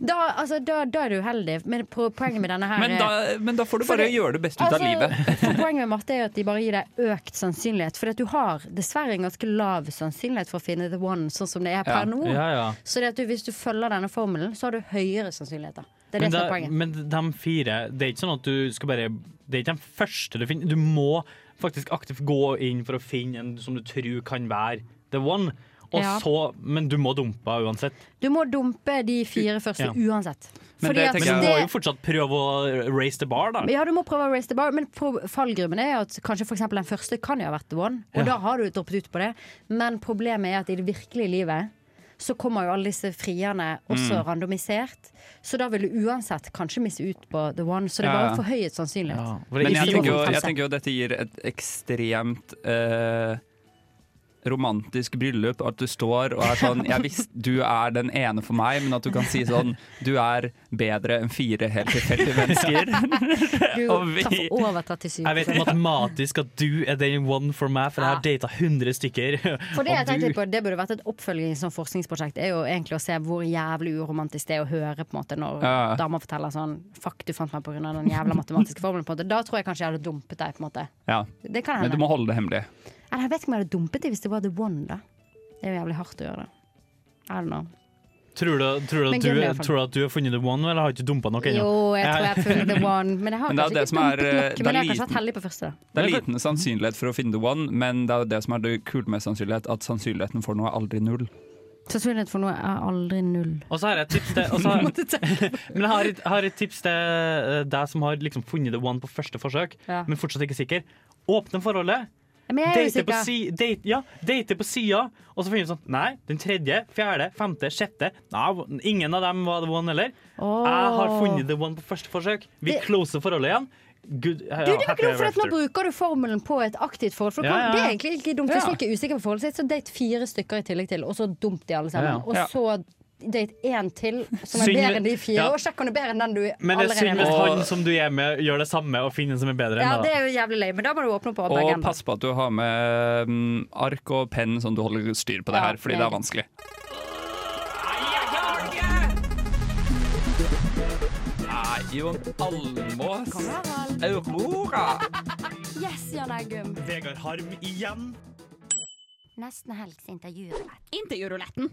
S4: da, altså, da, da er du uheldig, men på poenget med denne her
S9: Men, da, men da får du
S4: For
S9: bare
S4: det-
S9: gjøre det beste ut av
S4: Altså,
S9: livet.
S4: for Poenget med Marte er jo at de bare gir deg økt sannsynlighet. For at du har dessverre en ganske lav sannsynlighet for å finne the one, sånn som det er per
S8: Ja.
S4: nå.
S8: Ja, ja.
S4: Så det at du, hvis du følger denne formelen, så har du høyere sannsynlighet. Da. Det er det
S8: men,
S4: som er
S8: da-
S4: poenget.
S8: men de fire Det er ikke sånn at du skal bare Det er ikke de første du finner. Du må faktisk aktivt gå inn for å finne en som du tror kan være the one. og
S4: Ja.
S8: så, men du må dumpe henne uansett.
S4: Du må dumpe de fire første
S8: Ja.
S4: uansett.
S8: Men,
S4: Fordi at
S8: men du må jo fortsatt prøve å raise the bar, da.
S4: Ja, du må prøve å raise the bar, men pro- fallgrunnen er at kanskje for eksempel den første kan jo ha vært the one, og
S8: Ja.
S4: da har du droppet ut på det. Men problemet er at i det virkelige livet så kommer jo alle disse frierne
S15: Mm.
S4: også randomisert. Så da vil du uansett kanskje misse ut på the one, så det er
S9: Ja,
S4: bare
S9: ja.
S4: forhøyet sannsynlighet.
S9: Men jeg
S4: Ikke
S9: tenker, jo, jeg
S4: overraskelse.
S9: tenker jo dette gir et ekstremt eh, romantisk bryllup. At du står og er sånn Jeg visste du er den ene for meg, men at du kan si sånn Du er bedre enn fire helt tilfeldige mennesker. Og
S4: Du
S9: vi-
S4: traff over 37
S8: Jeg vet matematisk at du er den one for meg, for jeg har data 100 stykker.
S4: For det
S8: og
S4: jeg tenkte
S8: du-
S4: litt på, det burde vært et oppfølgingsforskningsprosjekt, er jo egentlig å se hvor jævlig uromantisk det er å høre på en måte når
S8: Ja.
S4: damer forteller sånn Fuck, du fant meg pga. den jævla matematiske formelen. på en måte Da tror jeg kanskje jeg hadde dumpet deg. på en måte
S9: Ja.
S4: Det kan
S9: Men
S4: hende.
S9: du må holde det hemmelig.
S4: Eller jeg vet ikke om jeg hadde dumpet deg hvis det var the one, da. Det er jo jævlig hardt å gjøre det. I don't know.
S8: Tror du, tror, du,
S4: Men
S8: at
S4: gøy, i
S8: du,
S4: hvert fall.
S8: tror du at du har funnet the one, eller har ikke dumpa nok ennå?
S4: Jo, jeg tror jeg har funnet the one, men jeg har
S9: Men det
S4: kanskje
S9: er det
S4: ikke
S9: som er,
S4: dumpet
S9: eh,
S4: nok.
S9: det er
S4: Men jeg har kanskje
S9: liten.
S4: vært heldig på første, da.
S9: Det er liten sannsynlighet for å finne the one, men det er jo det som er det kule med sannsynlighet, at sannsynligheten for noe er aldri null.
S4: Sannsynlighet for noe er aldri null.
S8: Og så har jeg et tips til og så har, Men jeg har et, har et tips til eh, deg som har liksom funnet the one på første forsøk,
S4: Ja.
S8: men fortsatt ikke sikker. Åpne forholdet.
S4: Men jeg er
S8: Date på,
S4: usikker.
S8: si, date, ja, date på sida, og så finner du sånn Nei, den tredje, fjerde, femte, sjette Nei, ingen av dem var the one heller.
S4: Åh.
S8: Jeg har funnet the one på første forsøk. Vi
S4: Det-
S8: closer forholdet igjen. Good,
S4: Du, det var ikke noe, for at Nå bruker du formelen på et aktivt forhold. For
S8: Ja, ja, ja.
S4: Det er egentlig ikke dumt Hvis
S8: Ja.
S4: folk er usikre på forholdet sitt, så date fire stykker i tillegg til, og så dump de alle sammen.
S8: Ja, ja. Ja.
S4: Og så date én til som er
S8: Synd-
S4: bedre enn de fire,
S8: ja.
S4: og sjekk om det er bedre enn den du
S8: Men det er
S4: allerede
S8: synd hvis
S4: med.
S8: han som du er med, gjør det samme og finner en som er bedre
S4: Ja,
S8: enn
S4: det
S8: deg.
S4: er jo jævlig løy, men da må du åpne opp på
S9: Og
S4: begge.
S9: pass på at du har med mm, ark og penn, sånn du holder styr på det
S4: Ja,
S9: her, fordi det
S4: meget.
S9: er vanskelig. Nei, Jon Almås. Aurora.
S4: Yes, Jan Eggum.
S8: Vegard Harm igjen.
S4: Nesten helgs intervjurulett.
S1: Intervjuruletten.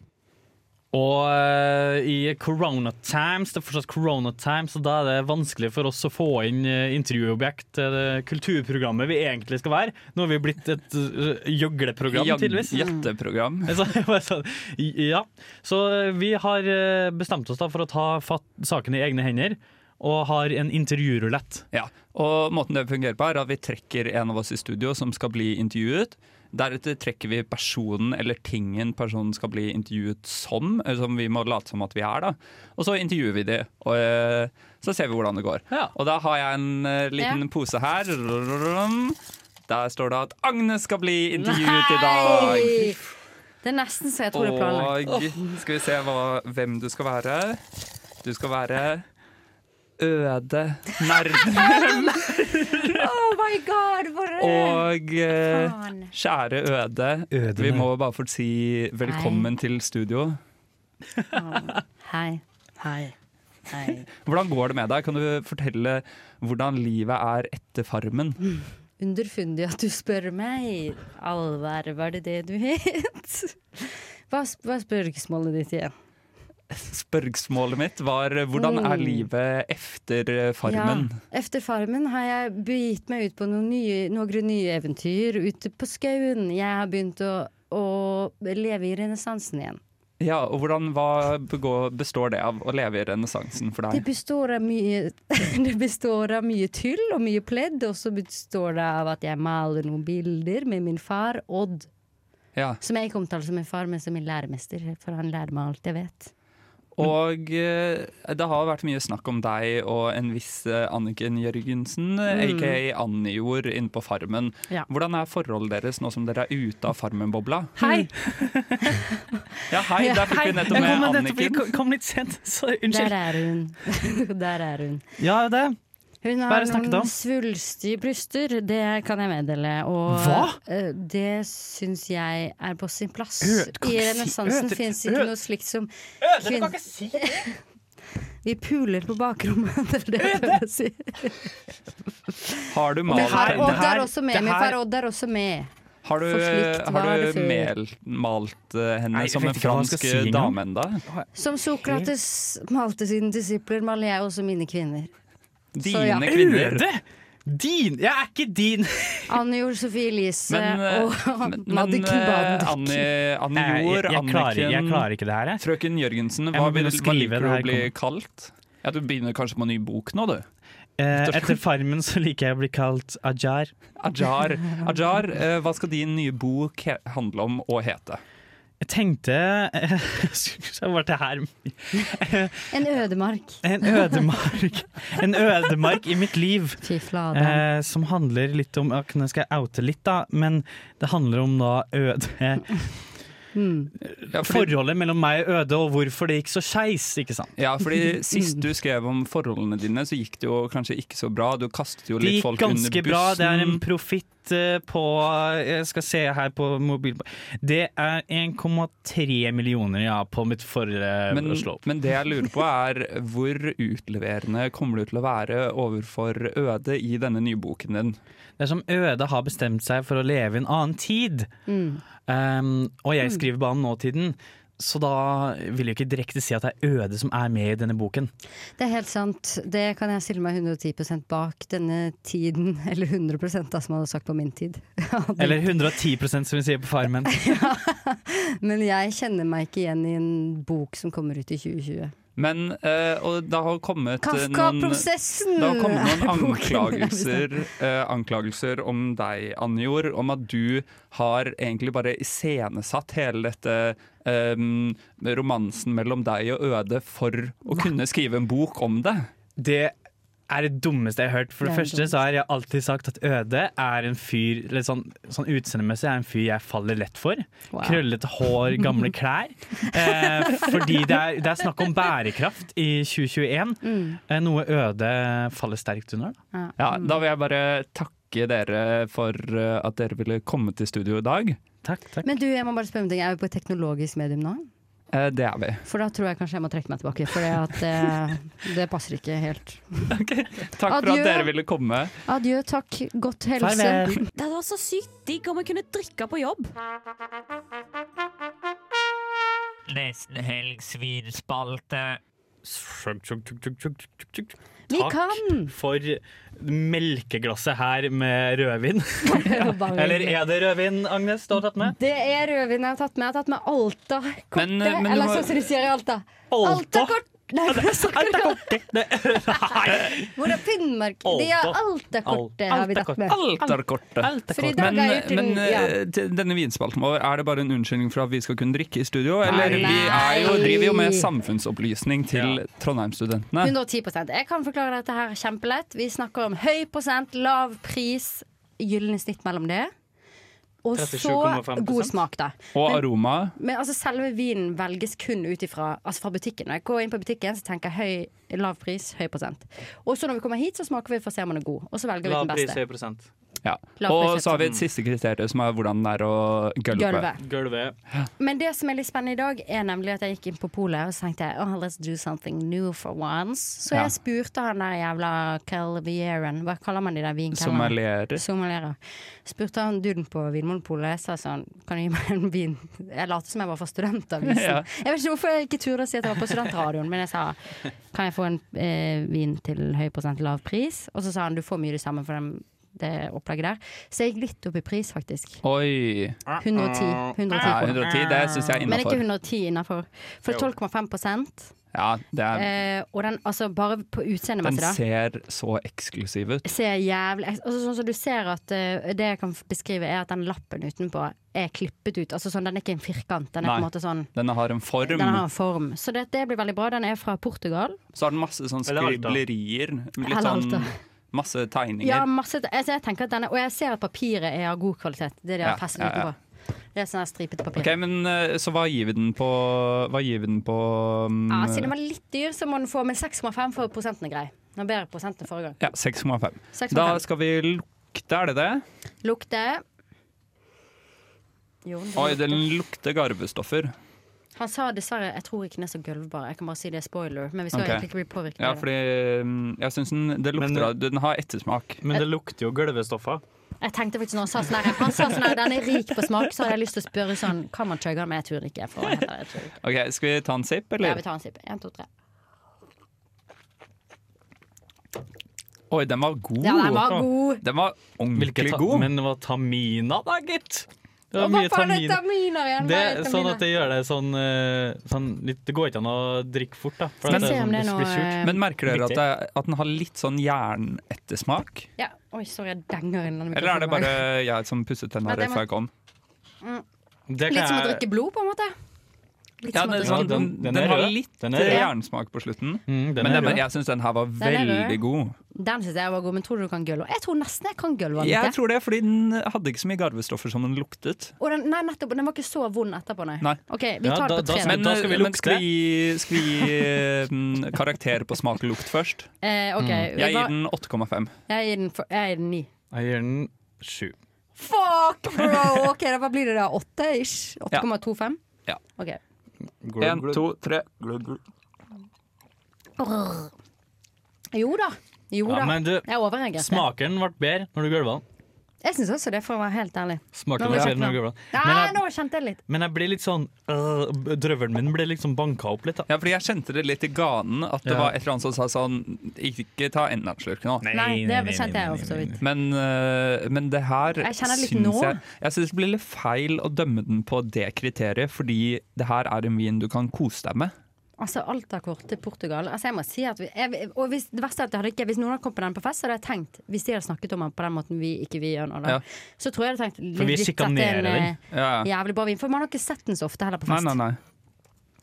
S8: Og eh, i corona times, det er fortsatt corona times, og da er det vanskelig for oss å få inn eh, intervjuobjekt til det kulturprogrammet vi egentlig skal være. Nå har vi blitt et eh, gjøgleprogram,
S9: Jag-
S8: tydeligvis.
S9: Jøtteprogram.
S8: Så, jeg bare sånn, ja. så eh, vi har eh, bestemt oss da for å ta fatt saken i egne hender, og har en intervjurulett.
S9: Ja, og måten det fungerer på er at vi trekker en av oss i studio som skal bli intervjuet. Deretter trekker vi personen eller tingen personen skal bli intervjuet som, eller som vi må late som at vi er, da. Og så intervjuer vi de, og eh, så ser vi hvordan det går. Og da har jeg en eh, liten
S4: Ja.
S9: pose her. Der står det at Agnes skal bli intervjuet i dag.
S4: Det er nesten så jeg tror det er planlagt.
S9: Og skal vi se hva, hvem du skal være. Du skal være Øde nerden.
S4: Oh my god, hvor
S9: Og eh,
S4: Faen.
S9: kjære Øde, vi må bare få si velkommen til studio.
S4: Hei. Hei. Hei.
S9: Hvordan går det med deg? Kan du fortelle hvordan livet er etter Farmen?
S4: Underfundig at du spør meg. Alver, var det det du het? Hva, sp- hva er spørsmålet ditt igjen?
S9: Spørsmålet mitt var eh, hvordan er
S4: Mm.
S9: livet etter eh, Farmen?
S4: Ja, efter Farmen har jeg begitt meg ut på noen nye, noen nye eventyr ute på skauen. Jeg har begynt å, å leve i renessansen igjen.
S9: Ja, og hvordan hva begå- består det av å leve i renessansen for
S4: Det
S9: deg?
S4: består, av mye, det består av mye tyll og mye pledd, og så består det av at jeg maler noen bilder med min far, Odd.
S9: Ja.
S4: Som jeg ikke omtaler som min far, men som min læremester, for han lærer meg alt jeg vet.
S9: Og eh, det har vært mye snakk om deg og en viss eh, Anniken Jørgensen, eh,
S4: Mm.
S9: aka Annijord, inne på Farmen.
S4: Ja.
S9: Hvordan er forholdet deres nå som dere er ute av Farmen-bobla? Mm.
S8: Hei!
S9: Ja, hei, der fikk vi nettopp med Anniken.
S8: Jeg kom litt sent, så unnskyld.
S4: Der er hun. Der er hun.
S8: Ja, det.
S4: Hun
S8: Hva er
S4: har
S8: det snakket
S4: noen
S8: om?
S4: svulst i bryster, det kan jeg meddele. Og
S8: Hva?
S4: eh, det syns jeg er på sin plass.
S8: Ød, kan
S4: I
S8: ikke si-
S4: renessansen
S8: Ød,
S4: fins ikke
S8: Ød.
S4: noe slikt som
S8: du kan
S4: kvin-
S8: ikke si det!
S4: Vi puler på bakrommet, det er det jeg prøver å si.
S9: Har du
S4: Men
S9: malt
S4: far
S9: det
S4: Odd er
S9: her?
S4: også med.
S9: det
S4: Min
S9: her-
S4: far Odd er også med.
S9: Har du, eh,
S4: For slikt
S9: har
S4: var det
S9: du
S4: før.
S9: mel, malt eh, henne
S8: Nei, jeg
S9: som
S8: vet
S9: en
S8: ikke hva jeg skal
S9: fransk
S8: si engang.
S9: dame ennå?
S4: Som Sokrates malte sine disipler, maler jeg også mine kvinner. Så
S9: Dine
S4: ja.
S9: kvinner.
S8: Øde? Din! Jeg er ikke din!
S4: Anne Jord Sofie Elise
S8: Men, eh,
S4: og
S9: Men
S4: Madikken
S9: eh,
S4: Badendik.
S9: Anni, Anni
S8: Nei, jeg-
S9: Jord,
S8: jeg klarer- jeg klarer ikke det her, jeg.
S9: Frøken Jørgensen,
S8: Jeg
S9: hva,
S8: må
S9: vil,
S8: begynne å
S9: hva
S8: skrive
S9: liker
S8: det
S9: du
S8: her,
S9: å bli
S8: kom.
S9: kalt? Ja, Du begynner kanskje på en ny bok nå, du?
S8: Eh,
S9: Rett og slett.
S8: etter Farmen så liker jeg å bli kalt Ajar.
S9: Ajar, Ajar eh, hva skal din nye bok he handle om og hete?
S8: Jeg tenkte eh, Så var det her
S4: En ødemark.
S8: En ødemark En ødemark i mitt liv eh, Som handler litt om ja, Nå skal jeg oute litt da Men det handler om da øde eh,
S9: Mm.
S8: Forholdet mellom meg og Øde Og hvorfor det gikk så skeis, ikke sant?
S9: Ja,
S8: Mm.
S9: fordi Sist du skrev om forholdene dine, så gikk det jo kanskje ikke så bra. Du kastet jo
S8: Det
S9: litt
S8: gikk
S9: folk under bussen.
S8: ganske bra. Det er en profitt eh, på Jeg skal se her på mobil Det er 1,3 millioner ja, på mitt forrige
S9: men,
S8: slå opp.
S9: men det jeg lurer på er hvor utleverende kommer du til å være overfor Øde i denne nye boken din?
S8: Det er som Øde har bestemt seg for å leve i en annen tid.
S4: Mm.
S8: Um, og jeg
S4: Mm.
S8: skriver bare om nåtiden, så da vil jeg ikke direkte si at det er Øde som er med i denne boken.
S4: Det er helt sant. Det kan jeg stille meg 110 bak denne tiden. Eller 100 da, som man hadde sagt på min tid.
S8: Eller 110 som vi sier på Farmen.
S4: Men jeg kjenner meg ikke igjen i en bok som kommer ut i 2020.
S9: Men eh, og det har kommet eh,
S4: Kafka-prosessen
S9: Det har kommet
S4: er
S9: noen
S4: boken liksom.
S9: anklagelser, eh, anklagelser om deg, Anjor, om at du har egentlig bare iscenesatt hele dette eh, romansen mellom deg og Øde for å kunne skrive en bok om det.
S8: Det er det dummeste jeg har hørt. For det,
S9: Det er det
S8: første så har jeg alltid sagt at Øde er en fyr eller sånn, sånn utseendemessig er en fyr jeg faller lett for. Krøllete hår, gamle klær. Eh, fordi det er, det er snakk om bærekraft i 2021,
S4: Mm.
S8: eh, noe Øde faller sterkt under. Da.
S9: Ja, da vil jeg bare takke dere for eh, at dere ville komme til studio i dag.
S8: Takk, takk.
S4: Men du, jeg må bare spørre om en ting. Er vi på et teknologisk medium nå?
S9: Eh, det er vi.
S4: For da tror jeg kanskje jeg må trekke meg tilbake. For det, at, eh, det passer ikke helt.
S9: Takk for
S4: Adjø.
S9: at dere ville komme.
S4: Adjø, takk. Godt helse.
S9: Farvel.
S1: Det hadde vært så sykt digg om jeg kunne drikke på jobb.
S15: Nesten helg svinspalte.
S4: Vi
S8: Takk
S4: kan!
S8: for melkeglasset her med rødvin.
S4: Bare-
S8: Eller er det rødvin, Agnes? Du har tatt med?
S4: Det er rødvin jeg har tatt med. Jeg har tatt med Alta. Kortet.
S8: Men, eh, men du
S4: Eller
S8: har-
S4: sånn som de sier i Alta.
S8: Alta?
S4: Alta-kort! Nei, hva snakker du om? Hvor er Finnmark? De har Alta-kortet har vi tatt med.
S9: Alterkortet.
S4: For i dag
S9: Men,
S4: er jo til-
S9: men
S4: ja.
S9: eh, til denne vinspalten vår, er det bare en unnskyldning for at vi skal kunne drikke i studio? Eller
S4: Nei.
S9: vi er jo, driver jo med
S4: Nei.
S9: samfunnsopplysning til Trondheim-studentene.
S4: 110 Jeg kan forklare dette her kjempelett. Vi snakker om høy prosent, lav pris, gylne snitt mellom det. Og så
S9: 37,5%.
S4: god smak, da.
S9: Og
S4: Men-
S9: aroma.
S4: Men altså, selve vinen velges kun ut ifra altså fra butikken. Når jeg går inn på butikken, så tenker jeg høy, lav pris, høy prosent. Og så når vi kommer hit, så smaker vi for å se om den er god. Og så velger vi den beste.
S8: prosent.
S9: Ja.
S4: Lav
S9: Og
S4: pris,
S9: så har vi et siste kriterium, som er hvordan det er å gulpe.
S4: Gulvet. Men det som er litt spennende i dag, er nemlig at jeg gikk inn på polet og så tenkte jeg, oh, let's do something new for once. Så
S9: Ja.
S4: jeg spurte han der jævla Calvieren, hva kaller man de der vinkellerne?
S9: Sommelierer.
S4: Sommelierer. Spurte han duden på Vinmonopolet, jeg sa sånn, kan du gi meg en vin? Jeg later som jeg var fra studentavisen.
S9: Ja.
S4: Jeg vet ikke hvorfor jeg ikke turde å si at jeg var på studentradioen, men jeg sa, kan jeg få en eh, vin til høy prosent lav pris? Og så sa han, du får mye det samme for den, det opplegget der. Så jeg gikk litt opp i pris faktisk.
S9: Oi.
S4: 110. 110,
S9: Ja, 110 det syns jeg er
S4: Men ikke
S9: innafor.
S4: 110 innafor. For
S9: Jo.
S4: 12,5
S9: Ja, det er,
S4: eh, Og den, altså bare på
S9: den
S4: utseendemessig, da.
S9: ser så eksklusiv ut.
S4: Ser jævlig altså, Sånn som du ser at eh, Det jeg kan beskrive, er at den lappen utenpå er klippet ut. Altså sånn, Den er ikke en firkant. Den er på en måte sånn
S9: den har en form.
S4: Den har en form. Så det, det blir veldig bra. Den er fra Portugal.
S9: Så har den masse sånn
S8: Eller Alta.
S9: skriblerier. Litt
S4: Eller
S9: sånn
S4: Alta.
S9: masse tegninger.
S4: Ja, masse altså, jeg tenker at denne, Og jeg ser at papiret er av god kvalitet. Det de
S9: Ja,
S4: har festet
S9: ja, ja.
S4: utenpå. Det er sånn her stripete papir.
S9: Ok, men eh, Så hva gir vi den på Hva gir vi den på um,
S4: Ja, siden den var litt dyr, så må den få Men 6,5 for prosenten er grei. Den er bedre prosent enn forrige gang.
S9: ja, 6,5.
S4: 6,5.
S9: Da skal vi lukte, er det det?
S4: Lukter Jo, den
S9: Oi,
S4: lukter.
S9: den lukter garvestoffer.
S4: Han sa dessverre jeg tror ikke den er så gulvbar. Jeg kan bare si det er spoiler. Men vi skal
S9: Ok.
S4: egentlig ikke bli påvirket
S9: Ja,
S4: av det.
S9: fordi um, jeg syns den det
S8: eh,
S9: lukter av Den har ettersmak.
S4: Men det
S8: lukter jo gulvestoffer.
S4: Jeg tenkte faktisk når Han sa sånn her Han sa sånn her, den er rik på smak, så hadde jeg lyst til å spørre sånn Kan man chugge den? Men jeg tror ikke. For å være helt ærlig, jeg tror ikke.
S9: Ok, Skal vi ta en sipp,
S4: Ja,
S9: eller?
S4: vi tar en sipp. En, to, tre.
S9: Oi, den var god.
S4: Ja, den var god.
S9: Den var ordentlig
S8: Hvilke ta-
S9: god.
S8: Men det var tamina, da, gitt. Det
S4: Å,
S8: var mye
S4: Hva faen er
S8: tamina.
S4: terminer igjen? Hva
S8: Det,
S4: er
S8: er sånn
S4: terminer?
S8: at det gjør det sånn, eh, sånn litt, Det går ikke an å drikke fort, da. for
S4: Skal
S8: at
S4: se
S8: sånn,
S4: om det er
S8: blir
S4: noe,
S8: surt.
S4: eh,
S9: Men merker dere at,
S8: Riktig.
S9: det, at den har litt sånn jernettesmak?
S4: Ja. Oi, sorry, jeg denger inn den
S9: Eller er det
S4: mikrofonen.
S9: bare jeg som
S4: Nei,
S9: pusset tenna
S4: det
S9: rett
S4: må-
S9: før jeg kom?
S4: Mm.
S8: Det
S4: Litt som å
S9: jeg-
S4: drikke blod, på en måte. Litt
S9: Ja,
S4: som å
S9: den,
S4: drikke
S9: sånn,
S4: blod.
S9: den,
S8: den
S9: den,
S8: er
S9: har
S8: rød.
S9: litt
S8: Den er
S9: eh,
S8: rød.
S9: jernsmak på slutten,
S8: Mm, den
S9: men
S8: er
S9: den,
S8: rød.
S9: jeg syns den her var
S4: Den er rød.
S9: veldig god.
S4: Den syns jeg var god, men tror du du kan gulve? Jeg tror nesten jeg kan gulve den.
S9: Jeg
S4: ikke?
S9: tror det, fordi den hadde ikke så mye garvestoffer som den luktet.
S4: Og den, nei, nettopp, den var ikke så vond etterpå, nei.
S9: Nei.
S4: Ok, vi tar det på tre.
S9: Men,
S4: da.
S8: skal vi
S9: men
S8: lukte.
S9: skal vi gi, skal vi gi eh, mm, karakter på smak og lukt først?
S4: Eh, ok,
S9: Mm. Jeg
S4: hva-
S9: gir den 8,5.
S4: Jeg gir den, for, jeg gir den ni.
S8: Jeg gir den sju.
S4: Fuck, bro! Ok, da, Hva blir det da? Åtte ish? 8,25?
S9: Ja.
S4: Ok.
S9: En, to, tre.
S4: Brr. Jo da. Jo da.
S8: Ja, men du,
S4: jeg overreagerte.
S8: smaken ble bedre når du gulva den.
S4: Jeg syns også det, for å være helt ærlig.
S8: Smaken
S4: Nå
S8: ble
S4: må jeg
S8: bedre
S9: sånn,
S8: når du
S4: kjenne.
S8: gulva den.
S4: Nei,
S8: Men jeg-
S4: nå kjente jeg litt.
S8: Men jeg blir litt sånn øh, Drøvelen min blir liksom banka opp litt. da
S9: Ja, fordi jeg kjente det litt i ganen, at det
S8: Ja.
S9: var et eller annet som sa sånn Ikke ta enda en slurk nå.
S4: Nei, det kjente jeg også vidt.
S9: Men, øh, men det her
S4: Jeg kjenner litt
S9: syns
S4: nå.
S9: jeg Jeg syns det blir litt feil å dømme den på det kriteriet, fordi det her er en vin du kan kose deg med.
S4: Altså, alt er kort til Portugal. Altså, jeg må si at vi, jeg, og hvis, det verste er at jeg hadde ikke, hvis noen hadde kommet på den på fest, så hadde jeg tenkt Hvis de hadde snakket om den på den måten vi ikke vi gjør nå, da,
S9: Ja.
S4: så tror jeg jeg hadde tenkt
S9: For vi
S4: legit at det er en,
S9: sjikanerer den.
S4: eh,
S9: Ja, ja.
S4: Jævlig bra vin. For man har ikke sett den så ofte heller på
S9: Nei,
S4: fest.
S9: nei, nei.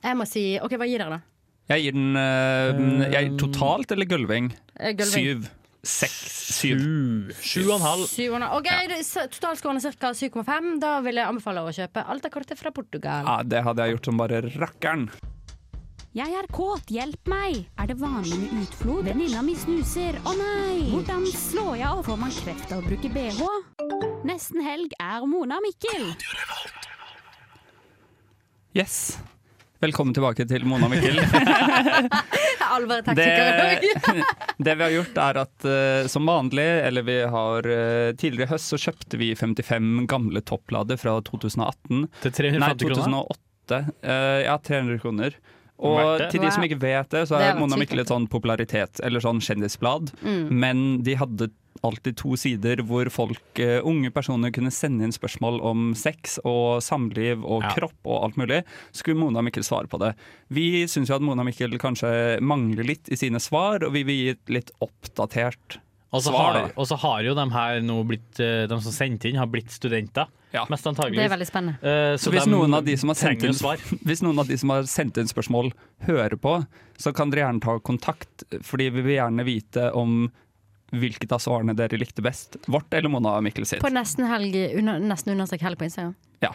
S4: Jeg må si OK, hva gir dere, da?
S9: Jeg gir den øh, jeg, totalt eller gulving?
S4: Eh, gulving.
S9: Syv. Seks.
S8: Uh,
S9: Syv. Sju og en halv.
S4: 700. OK, det- så totalskåren er ca. 7,5. Da vil jeg anbefale å kjøpe Alta Corte fra Portugal.
S9: Ja, det hadde jeg gjort som bare rakkeren.
S1: Jeg er kåt, hjelp meg! Er det vanlig med utflod? Venninna mi snuser, å nei! Hvordan slår jeg av? Får man kreft av å bruke bh? Nesten helg er Mona og Mikkel.
S9: Yes. Velkommen tilbake til Mona og Mikkel.
S4: Alvor
S9: Det,
S4: taktiker.
S9: det vi har gjort er at eh, som vanlig, eller vi har eh, tidligere i høst, så kjøpte vi 55 gamle topplader fra 2018.
S8: Til 350
S9: Nei,
S8: kroner?
S9: 2008. Eh, ja, 300 kroner. Og
S8: Verdt det.
S9: til de som ikke vet det, så
S8: Det er
S9: er
S8: verdt
S9: Mona og
S8: sykt,
S9: Mikkel et sånn popularitet, eller sånn kjendisblad.
S8: Mm.
S9: Men de hadde alltid to sider hvor folk, eh, unge personer kunne sende inn spørsmål om sex og samliv og kropp og alt mulig. Skulle Mona og Mikkel svare på det. Vi syns jo at Mona og Mikkel kanskje mangler litt i sine svar, og vi vil gi et litt oppdatert
S8: Og så
S9: svar.
S8: har,
S9: da.
S8: og så har jo de her nå blitt eh, De som sendte inn, har blitt studenter. Mest antageligvis.
S4: Det er veldig spennende.
S8: Eh,
S9: Så
S8: så
S9: hvis
S8: de
S9: noen, av de som har sendt
S8: trenger jo
S9: inn,
S8: svar.
S9: hvis noen av de som har sendt inn spørsmål, hører på, så kan dere gjerne ta kontakt, fordi vi vil gjerne vite om hvilket av svarene dere likte best. Vårt eller Mona og Mikkel sitt. Eh,
S4: På nesten helg, under, nesten understrek helg på Instagram.
S9: Ja.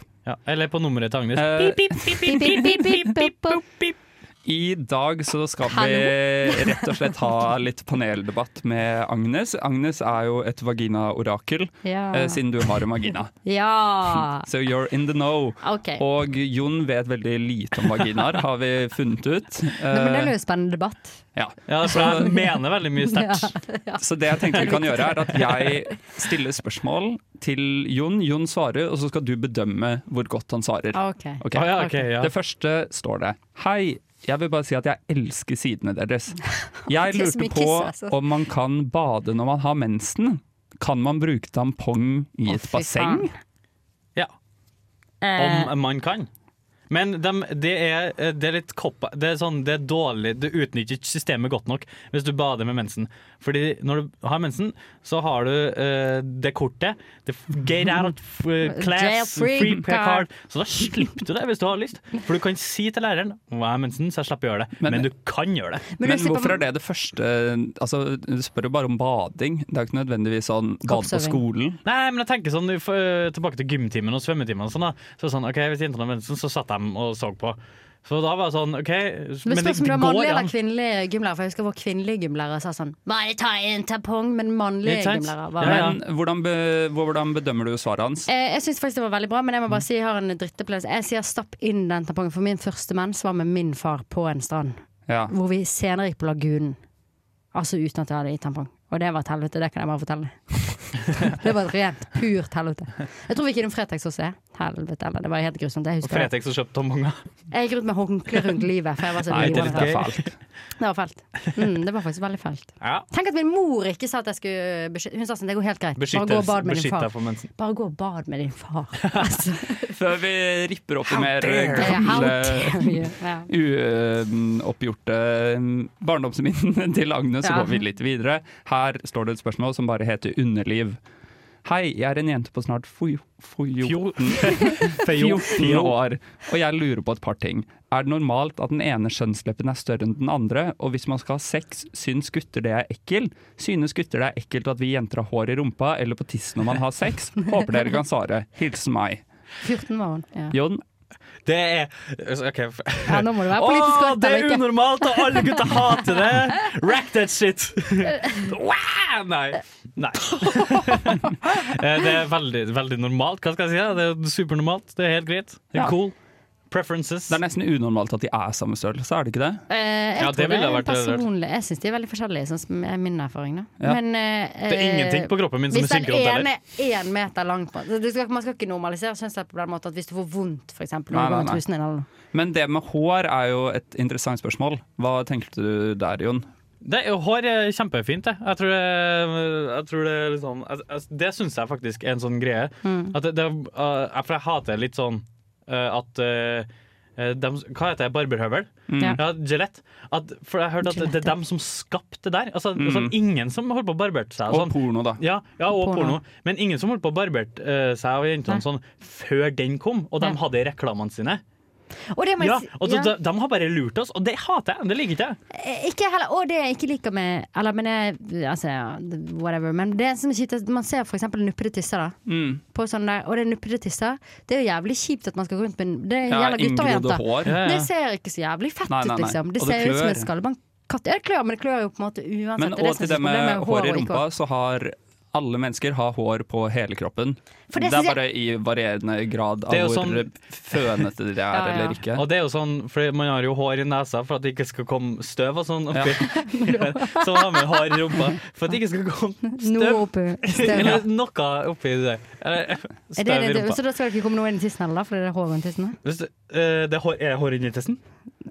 S8: Eller på nummeret til Agnes.
S9: Eh,
S4: Pip, pip, pip, pip, pip, pip.
S9: I dag så skal vi
S4: Hallo.
S9: rett og slett ha litt paneldebatt med Agnes. Agnes er jo et vaginaorakel,
S4: Ja.
S9: eh, siden du har en vagina.
S4: Ja.
S9: So you're in the know.
S4: Ok.
S9: Og Jon vet veldig lite om vaginaer, har vi funnet ut.
S4: Nei, men det
S9: Eh,
S4: blir jo en spennende debatt.
S9: Ja,
S8: Ja, for
S9: Så-
S8: jeg mener veldig mye sterkt.
S4: Ja, ja.
S9: Så det jeg tenkte vi kan gjøre, er at jeg stiller spørsmål til Jon. Jon svarer, og så skal du bedømme hvor godt han svarer.
S4: Ah, ok.
S9: Ok?
S4: Ah, ja, ok, ja.
S9: Det første står det Hei, jeg vil bare si at jeg elsker sidene deres. Jeg
S4: Det er så
S9: lurte
S4: mye
S9: på
S4: kyss, altså.
S9: om man kan bade når man har mensen. Kan man bruke tampong i et basseng?
S8: Ja.
S4: Eh,
S8: Om man kan. Men dem- det, er, eh, det er litt koppa Det er sånn, det er dårlig Du utnytter ikke systemet godt nok hvis du bader med mensen. Fordi når du har mensen, så har du eh, det kortet. Det f- get out f class,
S4: Jail free
S8: free
S4: card.
S8: card. Så da slipper du det hvis du har lyst. For du kan si til læreren Nå har jeg mensen, så jeg slipper å gjøre det. Men, du kan gjøre det.
S9: Men, hvorfor er det det første altså, Du spør jo bare om bading. Det er jo ikke nødvendigvis sånn bade på
S8: Kroppsøving.
S9: skolen.
S8: Nei, men jeg tenker sånn, for, eh, tilbake til gymtimen og svømmetimen og sånn da. Så sånn, ok, hvis jentene har mensen, så satt de og så på. Så da var det sånn, ok,
S4: Men
S8: men det,
S4: spørs om du
S8: det
S4: er
S8: går
S4: mannlig eller
S8: an.
S4: kvinnelig gymlærer, for jeg husker vår kvinnelige gymlærer sa sånn Bare ta en tampong, men mannlige gymlærer var
S9: Men hvordan, be, hvordan bedømmer du svaret hans?
S4: Eh, Jeg syns faktisk det var veldig bra, men jeg må bare si jeg har en drittopplevelse. Jeg sier stapp inn den tampongen, for min første mens var med min far på en strand.
S9: Ja.
S4: Hvor vi senere gikk på lagunen. Altså uten at jeg hadde i tampong. Og det var et helvete, det kan jeg bare fortelle. det var et rent, purt helvete. Jeg tror vi gikk innom Fretex også. jeg. helvete eller Det var helt grusomt. Jeg
S8: Og
S4: husker det.
S8: Fretex som kjøpte tombonger.
S4: Jeg gikk rundt med håndkle rundt livet, for jeg var så
S8: Nei, det er
S4: livredd.
S8: litt gøy.
S4: Det var fælt. Mm, det var faktisk veldig fælt.
S8: Ja.
S4: Tenk at min mor ikke sa at jeg skulle beskytte Hun sa sånn, det går helt greit. Bare gå og bad med din
S9: Beskytt deg
S4: far.
S9: for mensen.
S4: Bare gå og bad med din far.
S9: Før vi ripper opp i mer
S4: dare you. How dare you.
S9: gamle,
S4: Ja.
S9: uoppgjorte eh, barndomsminnene til Agnes, så
S4: Ja.
S9: går vi litt videre. Her står det et spørsmål som bare heter underliv. Hei, jeg er en jente på snart fo- fo- 14 år, og jeg lurer på et par ting. Er det normalt at den ene kjønnsleppen er større enn den andre? Og hvis man skal ha sex, syns gutter det er ekkel? Synes gutter det er ekkelt at vi jenter har hår i rumpa eller på tissen når man har sex? Håper dere kan svare. Hilsen meg.
S4: 14 var hun. Ja.
S9: Jon?
S8: Det er OK. f-
S4: Ja, nå må du være politisk
S8: Åh,
S4: korrekt,
S8: det er
S4: Henrik.
S8: unormalt, og alle gutter hater det! Rack that shit! Wow! Nei. Nei. Eh, Det er veldig, veldig normalt. Hva skal jeg si? da? Det er supernormalt. Det er helt greit. Det
S9: Ja.
S8: er cool. Preferences.
S9: Det er nesten unormalt at de er samme størrelse, er det ikke det?
S4: Eh, jeg
S9: Ja,
S4: tror
S9: det ville
S4: det er
S9: vært rart.
S4: personlig Jeg syns de er veldig forskjellige, sånn som er min erfaring. Da.
S9: Ja.
S4: Men, eh,
S9: Det er ingenting på kroppen min som er synkromt
S4: Hvis den
S9: heller.
S4: ene er én meter lang på- så du skal, Man skal ikke normalisere kjønnslepp på den måten at hvis du får vondt, f.eks.
S9: Nei,
S4: når du går
S9: nei,
S4: med
S9: nei.
S4: trusen din eller noe.
S9: Men det med hår er jo et interessant spørsmål. Hva tenkte du der, Jon?
S8: Det, hår er kjempefint, det. Jeg tror det, jeg tror det er litt sånn jeg- jeg- Det syns jeg faktisk er en sånn greie.
S2: Mm.
S8: At det, det, uh, jeg- for jeg hater litt sånn uh, at uh, uh, dem, Hva heter det? Barberhøvel?
S2: Mm.
S8: Ja.
S2: Ja.
S8: Gillette. At, for jeg hørte at det er dem som skapte det der. Altså,
S9: Mm.
S8: sånn, ingen som holdt på å barberte seg.
S9: Og
S8: sånn.
S9: porno, da.
S8: Ja, ja og
S9: Porno.
S8: porno. Men ingen som holdt på å barberte uh, seg og jentene sånn før den kom, og de hadde reklamene sine.
S4: Og det må jeg
S8: Ja,
S4: si-
S8: og de,
S4: ja.
S8: de, de har bare lurt oss, og det hater jeg. Det liker ikke jeg.
S4: Eh, Ikke heller, og det jeg ikke liker med Eller, men jeg, altså, ja, whatever. Men det som er kjipt, er at man ser for eksempel nuppede tisser, da.
S9: Mm.
S4: På sånn der, og det er nuppede tisser. Det er jo jævlig kjipt at man skal gå rundt med Det
S9: Ja,
S4: gjelder gutter og
S9: inngrodde
S4: jenter.
S9: hår. Ja, ja.
S4: Det ser ikke så jævlig fett
S9: Nei, nei,
S4: ut,
S9: nei.
S4: liksom. Det
S9: Og det
S4: ser ut som
S9: klør.
S4: en skallebankkatt. Ja, det klør, men det klør jo på en måte uansett. Altså,
S9: Men
S4: Det er det
S9: og
S4: som er
S9: til
S4: så
S9: det med
S4: problemet
S9: hår i
S4: og ikke
S9: rumpa, så har alle mennesker har hår på hele kroppen.
S4: For
S9: det,
S4: det synes
S9: er
S4: jeg-
S9: bare i varierende grad
S8: Det er jo
S9: av hvor
S8: sånn-
S9: fønete de er
S8: Ja, ja.
S9: eller ikke.
S8: Og det er jo sånn, for man har jo hår i nesa for at det ikke skal komme støv og sånn oppi. så har man hår i rumpa for at det ikke skal komme
S4: Noe oppi støv.
S8: Eller noe oppi det. Eller,
S4: Er det,
S8: Støv i
S4: det, så
S8: rumpa.
S4: da skal det ikke komme noe inn i tissen heller, da, fordi det er hår rundt tissen? da?
S8: Hvis det, eh, det er hår, er hår inni tissen?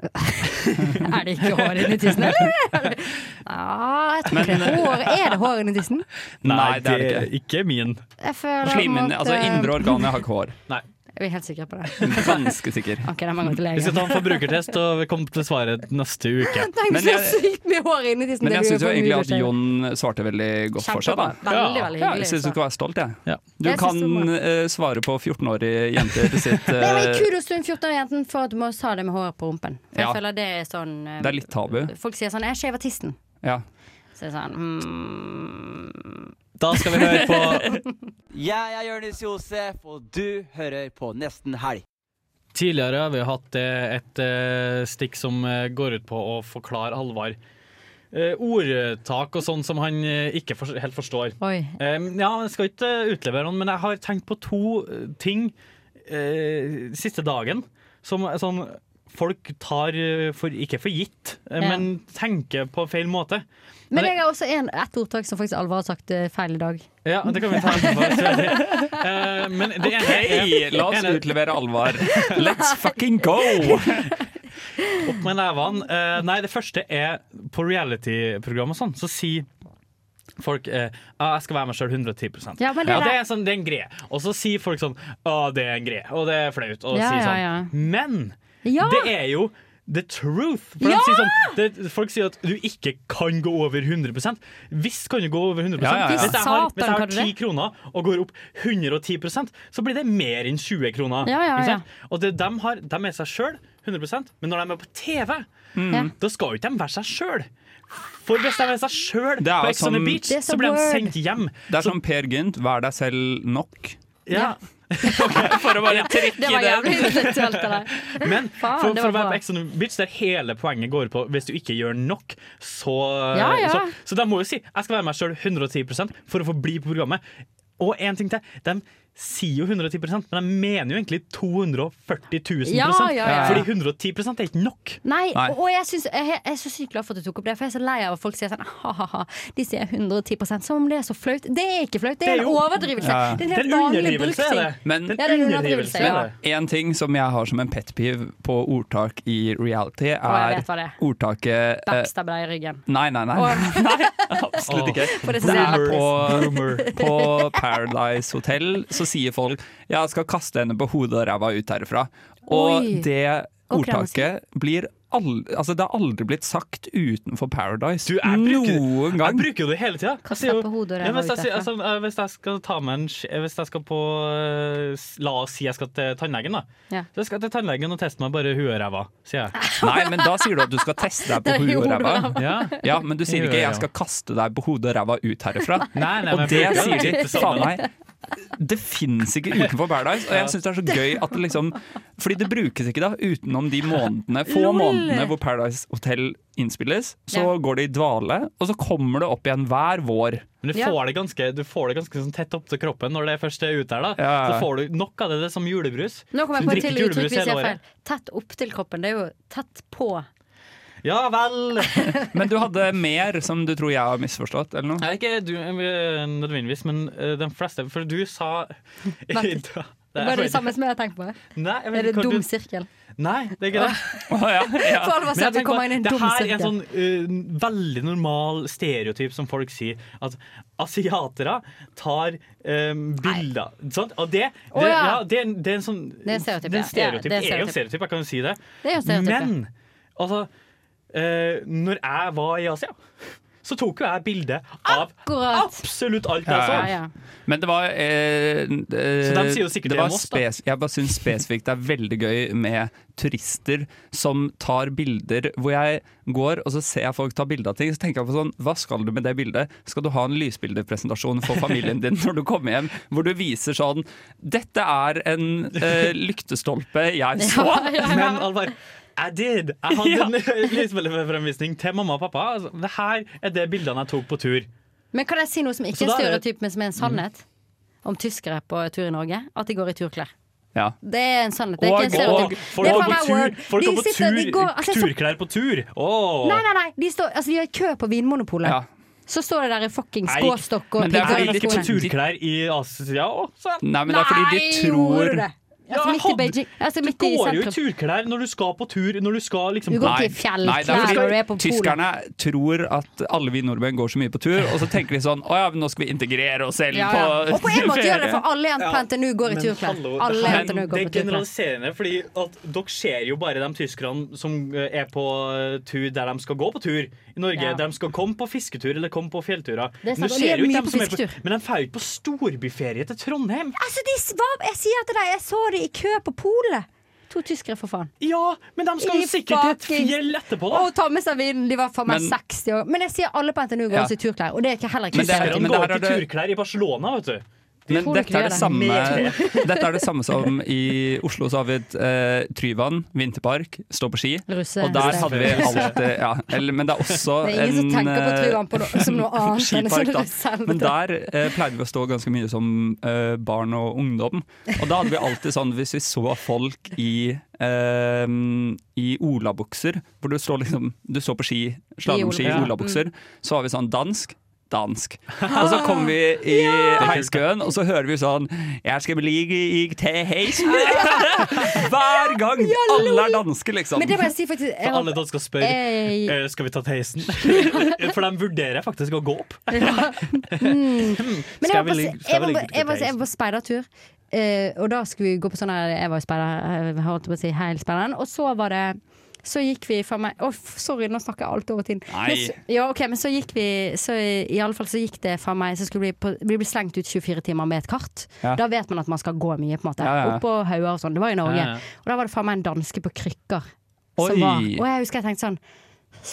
S4: Er det ikke hår inni tissen, eller? Ja, Ah, jeg tror ikke det. er Hår, er det hår inni tissen?
S8: Nei, det er ikke. min.
S4: Jeg føler
S9: Slimhinnen,
S4: at,
S9: altså
S4: eh,
S9: indre organer har ikke hår.
S8: Nei.
S4: Jeg er helt sikker på det.
S9: Ganske sikker.
S4: Ok, da må jeg gå til legen.
S8: Vi skal ta en forbrukertest og komme til svaret neste uke.
S4: Tenk
S9: Men
S4: så
S9: jeg-
S4: sykt mye hår inni tissen.
S9: Men
S4: det
S9: jeg
S4: lurer
S9: syns jo
S4: på om
S9: egentlig
S4: du
S9: at
S4: skjer.
S9: Jon svarte veldig godt for seg, da.
S4: Kjempebra. Veldig, veldig
S9: Ja,
S4: hyggelig, altså.
S9: jeg syns du
S4: så.
S9: skal være stolt, jeg. Du
S4: Jeg synes
S9: kan
S4: du må.
S9: eh, svare på 14-årige jenter sitt
S4: Men jeg
S9: eh,
S4: vil gi kudos til den 14-åringen for at du må ta det med håret på rumpen. For
S9: Ja.
S4: jeg føler det er sånn eh,
S9: Det er litt tabu.
S4: Folk sier sånn 'jeg shaver tissen'.
S9: Ja.
S4: Så er det sånn mm.
S8: Da skal vi høre på-
S6: Jeg er Jonis Josef, og du hører på Nesten Helg.
S8: Tidligere har vi hatt eh, et eh, stikk som eh, går ut på å forklare Halvard eh, ordtak og sånn som han eh, ikke for, helt forstår.
S4: Oi.
S8: Eh, ja, jeg skal ikke eh, utlevere noen, men jeg har tenkt på to eh, ting eh, siste dagen som er sånn folk tar eh, for, ikke for gitt, eh,
S4: Ja.
S8: men tenker på feil måte.
S4: Men jeg har også en, et ordtak som faktisk Alvar har sagt eh, feil i dag.
S8: Ja, det kan vi ta etterpå. Eh, men det ene
S9: Hei,
S8: er-
S9: la oss
S8: ene-
S9: utlevere Alvar. Let's fucking go!
S8: Opp med nevene. Eh, nei, det første er på reality-program og sånn, så sier folk eh, ah, 'jeg skal være meg sjøl 110
S2: Ja, men det
S8: Og
S2: er-
S8: det, er sånn, det er en greie. Og så sier folk sånn 'å, det er en greie', og det er flaut. Og
S2: Ja,
S8: sier sånn.
S2: ja, ja.
S8: Men
S2: Ja!
S8: det er jo The truth! For de
S2: Ja!
S8: sier sånn, det, folk sier at du ikke kan gå over 100 Visst kan du gå over 100
S9: Ja, ja, ja.
S8: Hvis jeg har, hvis jeg
S9: Satan, kan
S8: har
S9: du
S8: 10
S9: det?
S8: kroner og går opp 110 så blir det mer enn 20 kroner.
S2: Ja, ja,
S8: Ikke
S2: ja.
S8: sant? Og det, de, har, de er seg sjøl 100 men når de er på TV,
S9: Ja.
S8: da skal jo ikke de være seg sjøl. For hvis de er seg sjøl
S9: er
S8: på
S9: jo sånn-
S8: Ex on the
S9: som-
S8: Beach,
S9: Det er
S8: så
S9: så
S8: blir de
S9: word.
S8: sendt hjem.
S9: Det er som Per Gynt, vær deg selv nok.
S8: Ja.
S9: For å bare
S2: Det var jævlig intellektuelt av deg.
S8: Men
S2: Faen,
S8: for,
S2: det
S8: for å
S2: var bra.
S8: være på Ex on the Beach, der hele poenget går på hvis du ikke gjør nok, så
S2: Ja, ja.
S8: Så, så de må jo si jeg skal være meg sjøl 110 for å få bli på programmet. Og en ting til. De sier jo 110 men jeg mener jo egentlig 240 000
S4: Ja, ja, ja.
S8: Fordi 110 er ikke nok.
S4: Nei, og- og jeg, synes, jeg, jeg er så sykt glad for at du tok opp det, for jeg er så lei av at folk sier sånn ha-ha-ha, de sier 110 som om det er så flaut. Det er ikke flaut, det er en overdrivelse. Det er en helt vanlig bruksting.
S9: Men
S4: Ja, det er en underdrivelse, ja.
S9: en ting som jeg har som en pet peeve på ordtak i reality,
S4: jeg
S9: er
S4: vet hva det er.
S9: ordtaket eh,
S4: Backstabber deg i ryggen.
S9: Nei, nei, nei. nei absolutt ikke.
S4: For det
S9: Det er
S4: synes jeg
S9: på,
S4: er
S9: på Paradise Hotel så sier folk 'jeg skal kaste henne på hodet og ræva ut herfra'. Og
S4: Oi.
S9: det
S4: Og kremsen.
S9: ordtaket blir aldri, altså det har aldri blitt sagt utenfor Paradise. Noen gang.
S8: Jeg bruker jo det hele tida.
S4: Kaste deg på hodet og
S8: Ja,
S4: ræva
S8: hvis,
S4: ut
S8: jeg, sier-
S4: derfra.
S8: altså, eh, hvis jeg skal ta meg en sk- Hvis jeg skal på eh, s- La oss si jeg skal til tannlegen, da.
S4: Ja.
S8: Så jeg skal til tannlegen og teste meg bare i huet og ræva, sier jeg.
S9: Nei, men da sier du at du skal teste deg på
S8: Det er
S9: huet og
S8: hodet og
S9: ræva.
S8: ræva.
S9: Ja. men du sier
S8: Jo, jo,
S9: ikke
S8: jo.
S9: 'jeg skal kaste deg på hodet og ræva ut herifra'.
S8: Nei, nei,
S9: og
S8: men
S9: det
S8: jeg bruker
S9: sier
S8: det
S9: de.
S8: litt
S9: Faen
S8: sammen.
S9: meg. Det fins ikke utenfor Paradise, og jeg syns det er så gøy at det liksom Fordi det brukes ikke da, utenom de månedene, få
S8: Lol.
S9: månedene hvor Paradise Hotel innspilles. Så
S8: Ja.
S9: går det i dvale, og så kommer det opp igjen hver vår.
S8: Men du får det ganske, du får det ganske sånn tett opp til kroppen når det først er ute her. da
S9: Ja.
S8: Så får du nok av det, det er som julebrus.
S4: Nå
S8: Så
S4: kommer jeg
S8: du
S4: på et
S8: drikker
S4: til
S8: ikke
S4: uttrykk
S8: julebrus
S4: hvis jeg
S8: hele året.
S4: er feil. Tett opp til kroppen, det er jo tett på.
S8: Ja vel!
S9: Men du hadde mer som du tror jeg har misforstått, eller noe?
S8: Nei, ikke du eh, nødvendigvis, men eh, de fleste For du sa
S4: Vent litt.
S8: Da-
S4: Det var det samme som jeg har tenkt på.
S8: Nei, jeg vet
S4: er det
S8: ikke hva
S4: dum
S8: du-
S4: sirkel?
S8: Nei, det er ikke det.
S4: ja. For alvor
S8: Men jeg
S4: ser vi
S8: tenker
S4: kommer
S8: bare,
S4: inn i en
S8: det
S4: dum
S8: her er en sånn
S4: sirkel.
S8: eh, veldig normal stereotyp som folk sier, at asiatere tar eh, bilder. Sant? Og det, det,
S4: Å,
S8: ja.
S4: ja.
S8: det, er en- det er en sånn
S4: Det er en stereotyp,
S8: det er en
S4: ja. Ja, det
S8: stereotyp.
S4: er en
S8: Det er jo
S4: stereotyp.
S8: en stereotyp, jeg kan jo si det.
S4: Det er jo stereotyp, ja.
S8: Men altså eh, Når jeg var i Asia, så tok jo jeg bilde av absolutt alt jeg så.
S9: Men det var eh, eh,
S8: de sier jo sikkert det
S9: var
S8: om oss, da.
S9: spes- Jeg bare syns spesifikt det er veldig gøy med turister som tar bilder hvor jeg går og så ser jeg folk ta bilde av ting. Så tenker jeg på sånn, hva skal du med det bildet? Skal du ha en lysbildepresentasjon for familien din når du kommer hjem, hvor du viser sånn Dette er en eh, lyktestolpe jeg så.
S8: Men Alvar, jeg did! Jeg hadde en lysbildefremvisning til mamma og pappa. Altså, det her er det bildene jeg tok på tur.
S4: Men kan jeg si noe som
S8: Så
S4: ikke er
S8: da er det- Mm.
S4: stereotyp, men som er en sannhet? Om tyskere på tur i Norge? At de går i turklær.
S9: Ja.
S4: Det er en sannhet. Det er
S8: Og-
S4: ikke en stereotyp.
S8: og Folk
S4: det er
S8: går på
S4: faen meg
S8: tur,
S4: word.
S8: folk
S4: De
S8: går på
S4: sitter- de
S8: tur,
S4: går- altså, jeg så-
S8: turklær på tur! Åh.
S4: Nei, nei, nei. De, står, altså, de har kø på Vinmonopolet. Så står det der i fucking
S8: Nei,
S4: skråstokk og
S8: men det er
S4: pigger
S8: fordi
S4: under
S8: de går på
S4: skoene.
S8: turklær i Asia også.
S9: Nei, men det er fordi de
S4: Nei,
S9: tror
S4: gjorde du det? Altså, midt i Beijing- altså, midt
S8: du
S4: i
S8: går jo i
S4: sentrum.
S8: turklær når du skal på tur. Når du skal liksom
S4: Du går ikke i
S9: Nei, det
S4: fjellklær
S9: er
S4: når du
S9: fordi
S4: er på polet.
S9: Tyskerne tror at alle vi nordmenn går så mye på tur, og så tenker de sånn Å ja, men nå skal vi integrere oss selv
S4: Ja, ja.
S9: på
S4: Og på en måte gjør det, for alle jenter
S8: Ja,
S4: på NTNU går i
S8: men
S4: turklær.
S8: hallo,
S4: Alle
S8: det her-
S4: jenter nå
S8: Det
S4: går på
S8: er
S4: turklær.
S8: generaliserende, fordi at dere ser jo bare de tyskerne som eh, er på eh, tur der de skal gå på tur i Norge.
S4: Ja.
S8: Der de skal komme på fisketur eller komme på fjellturer.
S4: Det er
S8: Men
S4: sant,
S8: du
S4: og de
S8: ser
S4: er
S8: jo
S4: mye
S8: ikke dem
S4: på
S8: som er på,
S4: fisketur.
S8: men de drar jo ikke på storbyferie til Trondheim.
S4: Altså, de s- hva- jeg sier til deg, jeg så de i kø på polet. To tyskere, for faen.
S8: Ja, men de skal jo sikkert til et fjell etterpå, da.
S4: Og ta med seg vinen. De var faen meg
S8: Men-
S4: 60 år. Men jeg sier alle på NTNU går
S9: Ja.
S4: også i turklær, og det er ikke heller ikke
S9: Men det er-
S8: Tyskerne
S9: men det
S8: går
S9: her
S8: ikke
S9: er
S8: i
S9: det-
S8: turklær i Barcelona, vet du.
S9: Men
S8: Folk
S9: dette
S8: gjør
S9: er, det
S8: det.
S9: samme,
S8: Mer.
S9: dette er det samme som i Oslo, så har vi et eh, Tryvann, vinterpark, stå på ski.
S4: Russe-
S9: og der hadde vi
S4: Russe.
S9: alt eh, ja, eller, Men det er også
S4: Det er ingen som
S9: en,
S4: tenker på
S9: eh,
S4: Tryvann på noe- som noe annet enn
S9: skipark,
S4: som
S9: da.
S4: russehelvete.
S9: Men der eh, pleide vi å stå ganske mye som eh, barn og ungdom. Og da hadde vi alltid sånn, hvis vi så folk i eh, i olabukser, hvor du står liksom Du står på ski, slalåmski i
S8: olabukser.
S9: olabukser,
S4: Mm.
S9: så var vi sånn dansk, dansk.
S4: Ah,
S9: Og så kom vi i heiskøen, og så hører vi sånn Jeg skal bli i til heisen! Hver gang! Alle er danske, liksom.
S4: Men det må jeg si faktisk jeg
S8: For alle dere skal spørre
S4: Jeg-
S8: eh, Skal vi ta til heisen. For de vurderer faktisk å gå opp.
S4: Men jeg
S8: Skal vi ligge- skal vi
S4: var på, jeg var
S8: ligge
S4: på, jeg var,
S8: til
S4: jeg var på speidertur, eh, og da skulle vi gå på sånn her- Jeg var jo speider, jeg holdt på å si heilspeideren, og så var det så gikk vi for meg Å, f- sorry, nå snakker jeg alt over tiden. Men,
S9: Nei.
S4: s- ja, ok, men så gikk vi så i, i alle fall så gikk det for meg Så skulle vi, på, vi bli slengt ut 24 timer med et kart.
S9: Ja.
S4: Da vet man at man skal gå mye, på en måte.
S9: Ja, ja, ja.
S4: Oppå hauger og sånn. Det var i Norge.
S9: Ja, ja.
S4: Og da var det for meg en danske på krykker.
S9: Oi.
S4: Som var, og jeg husker jeg tenkte sånn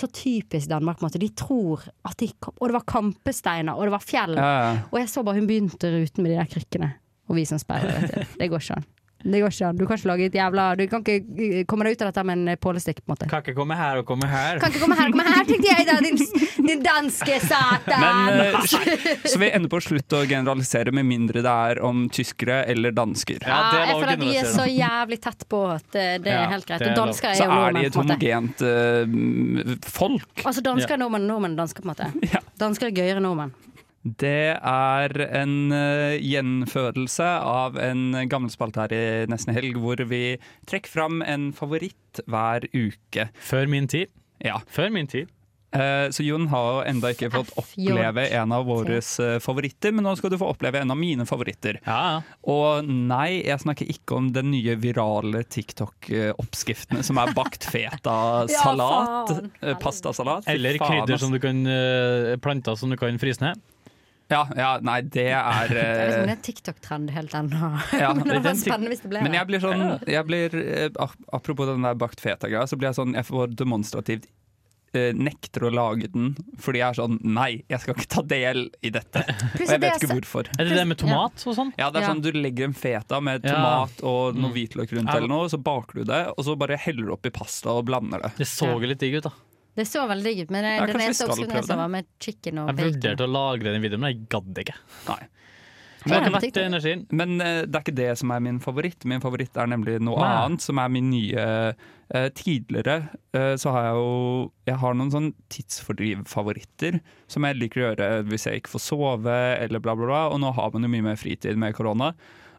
S4: så typisk Danmark. på en måte. De tror at de kom, Og det var kampesteiner, og det var fjell.
S9: Ja, ja.
S4: Og jeg så bare hun begynte ruten med de der krykkene. Og vi som speidere, vet du. Det går ikke an. Det går ikke an. Du kan ikke lage et jævla Du kan ikke eh, komme deg ut av dette med en eh, pålestikk, på en måte.
S8: Kan ikke komme her og komme her.
S4: Kan ikke komme her, komme her, tenkte jeg da, din, din danske satan!
S9: Men, eh, Så vi ender på å slutte å generalisere, med mindre det er om tyskere eller dansker.
S4: Ja, jeg føler at de er så jævlig tett på at eh, det er helt greit. Og dansker er jo
S9: Så er de
S4: nordmenn,
S9: et
S4: på en måte.
S9: homogent eh, folk.
S4: Altså dansker er nordmenn, nordmenn er dansker, på en måte. Dansker er gøyere enn nordmenn.
S9: Eh. Det er en eh, gjenfødelse av en gammel spalte her i Nesten Helg, hvor vi trekker fram en favoritt hver uke.
S8: Før min tid.
S9: Ja.
S8: Før min tid.
S9: så Jon har jo enda ikke fått oppleve en av våre favoritter, men nå skal du få oppleve en av mine favoritter. Og nei, jeg snakker ikke om den nye virale TikTok-oppskriftene som er bakt feta-salat.
S8: Ja, faen.
S9: eh, Pastasalat. Fy
S8: Eller
S9: faen,
S8: krydder
S9: ass.
S8: som du kan eh, planter som du kan fryse ned.
S9: Ja, nei, det er eh,
S4: Det er liksom en TikTok-trend helt ennå.
S9: Ja,
S4: Men det
S9: det er
S4: var
S9: den
S4: spennende hvis det ble
S9: Men
S4: det.
S9: jeg blir sånn jeg blir, eh, ap- Apropos den der bakt feta-greia, så blir jeg sånn Jeg får demonstrativt eh, nekter å lage den fordi jeg er sånn Nei, jeg skal ikke ta del i dette. Og
S8: Pluss
S9: jeg
S8: at det
S9: vet
S8: er
S9: ikke
S8: så-
S9: hvorfor.
S8: Er det det med tomat og sånn?
S9: Ja, det er
S8: Ja.
S9: sånn du legger en feta med
S8: Ja.
S9: tomat og noe
S8: Mm.
S9: hvitløk rundt
S8: Ja.
S9: eller noe, så baker du det, og så bare heller du oppi pasta og blander det.
S8: Det så jo litt digg ut, da.
S4: Det så veldig digg ut, men det,
S9: Ja,
S4: den
S9: kanskje vi
S4: eneste
S9: skal
S4: oppskriften
S9: prøve
S4: jeg så
S9: det.
S4: var med chicken og
S8: Jeg
S4: bacon.
S8: vurderte å lagre den videoen, men jeg gadd ikke.
S9: Nei.
S8: Men det er verdt energien.
S9: Men eh, det er ikke det som er min favoritt. Min favoritt er nemlig noe
S8: Nei.
S9: annet, som er min nye eh, Tidligere eh, så har jeg jo Jeg har noen sånn tidsfordrivfavoritter som jeg liker å gjøre hvis jeg ikke får sove, eller bla, bla, bla. Og nå har man jo mye mer fritid med korona.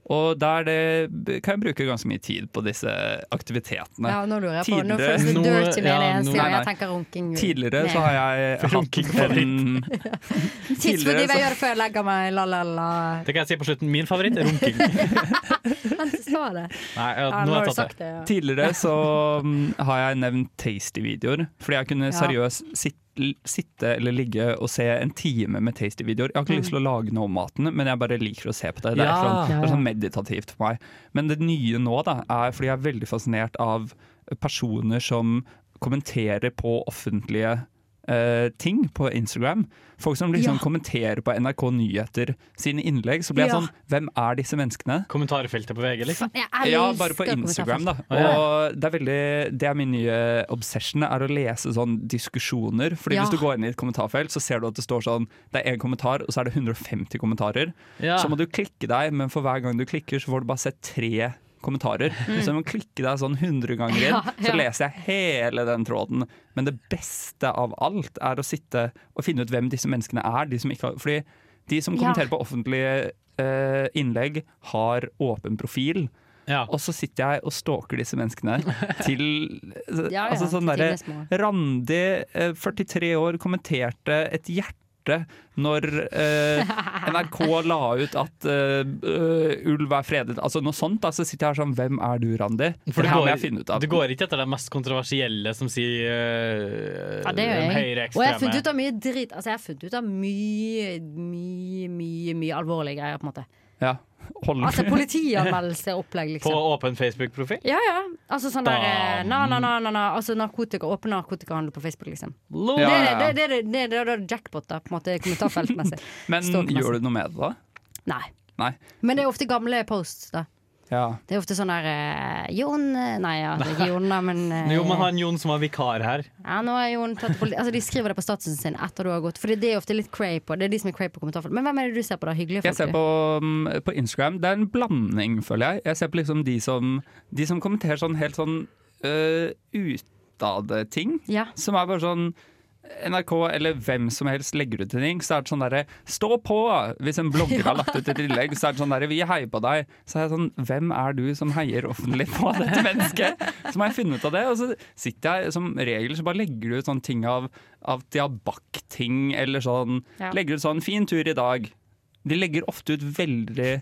S9: Og der det, kan jeg bruke ganske mye tid på disse aktivitetene.
S4: Ja, nå lurer jeg på. Nå
S9: Tidligere-
S4: føles det dirty med
S9: ja,
S4: det eneste
S9: nå-
S4: gang
S9: Nei,
S4: jeg
S9: nei.
S4: tenker runking.
S9: Tidligere så har jeg hatt en
S4: Tidsfordriv
S8: Tidligere så-
S4: jeg gjør det før jeg legger meg, la, la, la.
S8: Det kan jeg si på slutten. Min favoritt er runking.
S4: Men så sa jeg det.
S8: Nei, ja,
S4: Ja,
S8: nå
S4: nå
S8: har
S4: har du
S8: jeg tatt
S4: sagt det, ja.
S9: Tidligere så mm, har jeg nevnt Tasty-videoer, fordi jeg kunne
S4: Ja.
S9: seriøst sitte, sitte eller ligge og se en time med Tasty-videoer. Jeg har ikke lyst til å lage noe om maten, men jeg bare liker å se på det. Det
S8: Mm.
S9: er,
S8: Ja.
S9: sånn,
S8: Ja,
S9: det
S8: ja.
S9: er sånn meditativt for meg. Men det nye nå da, er fordi jeg er veldig fascinert av personer som kommenterer på offentlige eh, ting på Instagram. Folk som liksom
S8: Ja.
S9: kommenterer på NRK Nyheter sine innlegg. Så blir jeg
S8: Ja.
S9: sånn, hvem er disse menneskene?
S8: Kommentarfeltet på VG, liksom.
S9: Ja, bare på Instagram, da. Og det er, veldig, det er min nye obsession, er å lese sånn diskusjoner. Fordi
S8: Ja.
S9: hvis du går inn i et kommentarfelt, så ser du at det står sånn Det er én kommentar, og så er det 150 kommentarer.
S8: Ja.
S9: Så må du klikke deg, men for hver gang du klikker, så får du bare sett tre kommentarer.
S8: Mm.
S9: Så du må klikke deg sånn 100 ganger inn,
S8: Ja, ja.
S9: så leser jeg hele den tråden. Men det beste av alt er å sitte og finne ut hvem disse menneskene er. De som ikke har, fordi de som
S8: Ja.
S9: kommenterer på offentlige eh, innlegg, har åpen profil. Og så sitter jeg og stalker disse menneskene til
S8: Ja, ja,
S9: altså sånn
S8: til
S9: derre
S8: tidenes morgen.
S9: Randi, eh, 43 år, kommenterte et hjerte når eh, NRK la ut at eh, øh, ulv er fredet. Altså noe sånt. Da. Så sitter jeg her sånn Hvem er du, Randi?
S8: For
S9: det
S8: du
S9: her må
S8: går,
S9: jeg finne ut av.
S8: du går ikke etter de mest kontroversielle som sier øh,
S4: Ja, det gjør
S8: de
S4: jeg. Og jeg har funnet ut
S8: høyreekstreme.
S4: av mye dritt. Altså, jeg har funnet ut av mye, mye, mye mye alvorlige greier, på en måte.
S9: Ja. Hold.
S4: Altså politianmeldelseopplegg,
S8: På
S4: liksom.
S8: åpen Facebook-profil?
S4: Ja, ja. Altså sånn der eh,
S8: Damn.
S4: na, na, na, na, na. Altså narkotika, åpen narkotikahandel på Facebook, liksom.
S8: Lol.
S4: Det
S9: Ja,
S4: er
S9: ja, ja.
S4: det, det, er det, det, er det, det er jackpot, da, på en måte, kommentarfeltmessig.
S9: Men
S4: Stalkmessig.
S9: gjør du noe med det, da?
S4: Nei.
S9: Nei.
S4: Men det er ofte gamle posts, da.
S9: Ja.
S4: Det er ofte sånn der eh, Jon eh, Nei, ja, det er ikke Jon, da, men eh,
S8: Jo, men han Jon som var vikar her.
S4: ja, nå er Jon tatt politi Altså, De skriver det på statusen sin etter du har gått, Fordi det er ofte litt cray på. Det er de som er cray på kommentarfelt. Men hvem er det du ser på, da? Hyggelige folk?
S9: Jeg ser
S4: du?
S9: på, mm, på Instagram. Det er en blanding, føler jeg. Jeg ser på liksom de som, de som kommenterer sånn helt sånn øh, utad-ting. Som er bare sånn NRK eller hvem som helst legger ut en ting, så er det sånn derre Stå på! Hvis en blogger har lagt ut et innlegg, så er det sånn derre Vi heier på deg. Så er jeg sånn Hvem er du som heier offentlig på dette mennesket? Så må jeg finne ut av det. Og så sitter jeg som regel så bare legger du ut sånne ting av at de har bakt ting, eller sånn.
S8: Ja.
S9: Legger ut sånn Fin tur i dag. De legger ofte ut veldig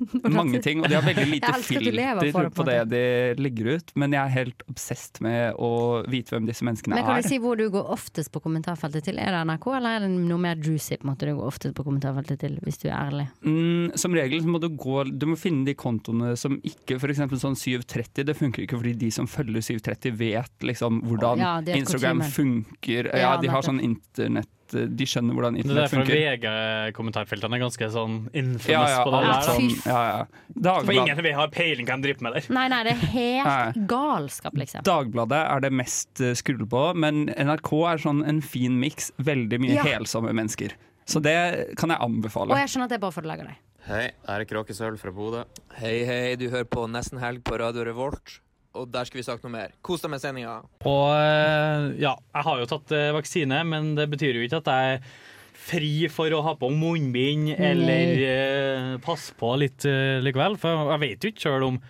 S9: mange ting, og de har veldig lite
S4: Jeg elsker at du lever
S9: filter
S4: for det, på
S9: på
S4: en
S9: det de legger ut. Men jeg er helt obsesst med å vite hvem disse menneskene
S4: Men kan du
S9: er.
S4: si hvor du går oftest på kommentarfeltet til? Er det NRK, eller er det noe mer juicy på en måte du går oftest på kommentarfeltet til, hvis du er ærlig?
S9: Mm, som regel så må du gå Du må finne de kontoene som ikke F.eks. sånn 730. Det funker ikke fordi de som følger 730, vet liksom hvordan
S8: Ja, det er et
S9: Instagram
S8: konsumer.
S9: funker. Ja,
S8: Ja,
S9: de har
S8: nettopp.
S9: sånn internett at eh, de skjønner hvordan
S8: Det er
S9: internett
S8: derfor
S9: funker.
S8: VG-kommentarfeltene er ganske sånn infamous
S9: Ja, ja,
S8: på det.
S9: alt
S8: der, da.
S9: sånn, ja, ja.
S8: For
S9: Dagblad-
S8: ingen har peiling hva de driver med der.
S4: Nei, nei, det er helt
S9: Nei.
S4: galskap, liksom.
S9: Dagbladet er det mest eh, skrull på, men NRK er sånn en fin miks. Veldig mye
S4: Ja.
S9: helsomme mennesker. Så det kan jeg
S4: Og
S9: anbefale.
S4: jeg skjønner at det er bare for å lage deg.
S16: Hei, her er Kråkesølv fra Bodø.
S17: Hei, hei, du hører på Nesten Helg på Radio Revolt, og der skal vi snakke noe mer. Kos deg med sendinga.
S8: Og eh, ja, jeg har jo tatt eh, vaksine, men det betyr jo ikke at jeg er fri for å ha på munnbind eller eh, passe på litt eh, likevel. For jeg vet jo ikke sjøl om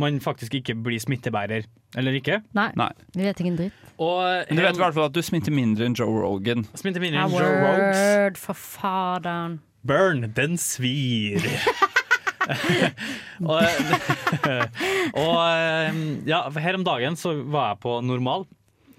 S8: man faktisk ikke blir smittebærer eller ikke.
S4: Nei. Vi vet ikke en dritt.
S8: Og
S9: Men du vet i hvert fall at du sminter mindre enn Joe Rogan.
S8: Sminter mindre
S4: Ja,
S8: enn Joe Rogan.
S4: Word, for faderen.
S8: Burn, den svir. og, og um, ja, her om dagen så var jeg på normal.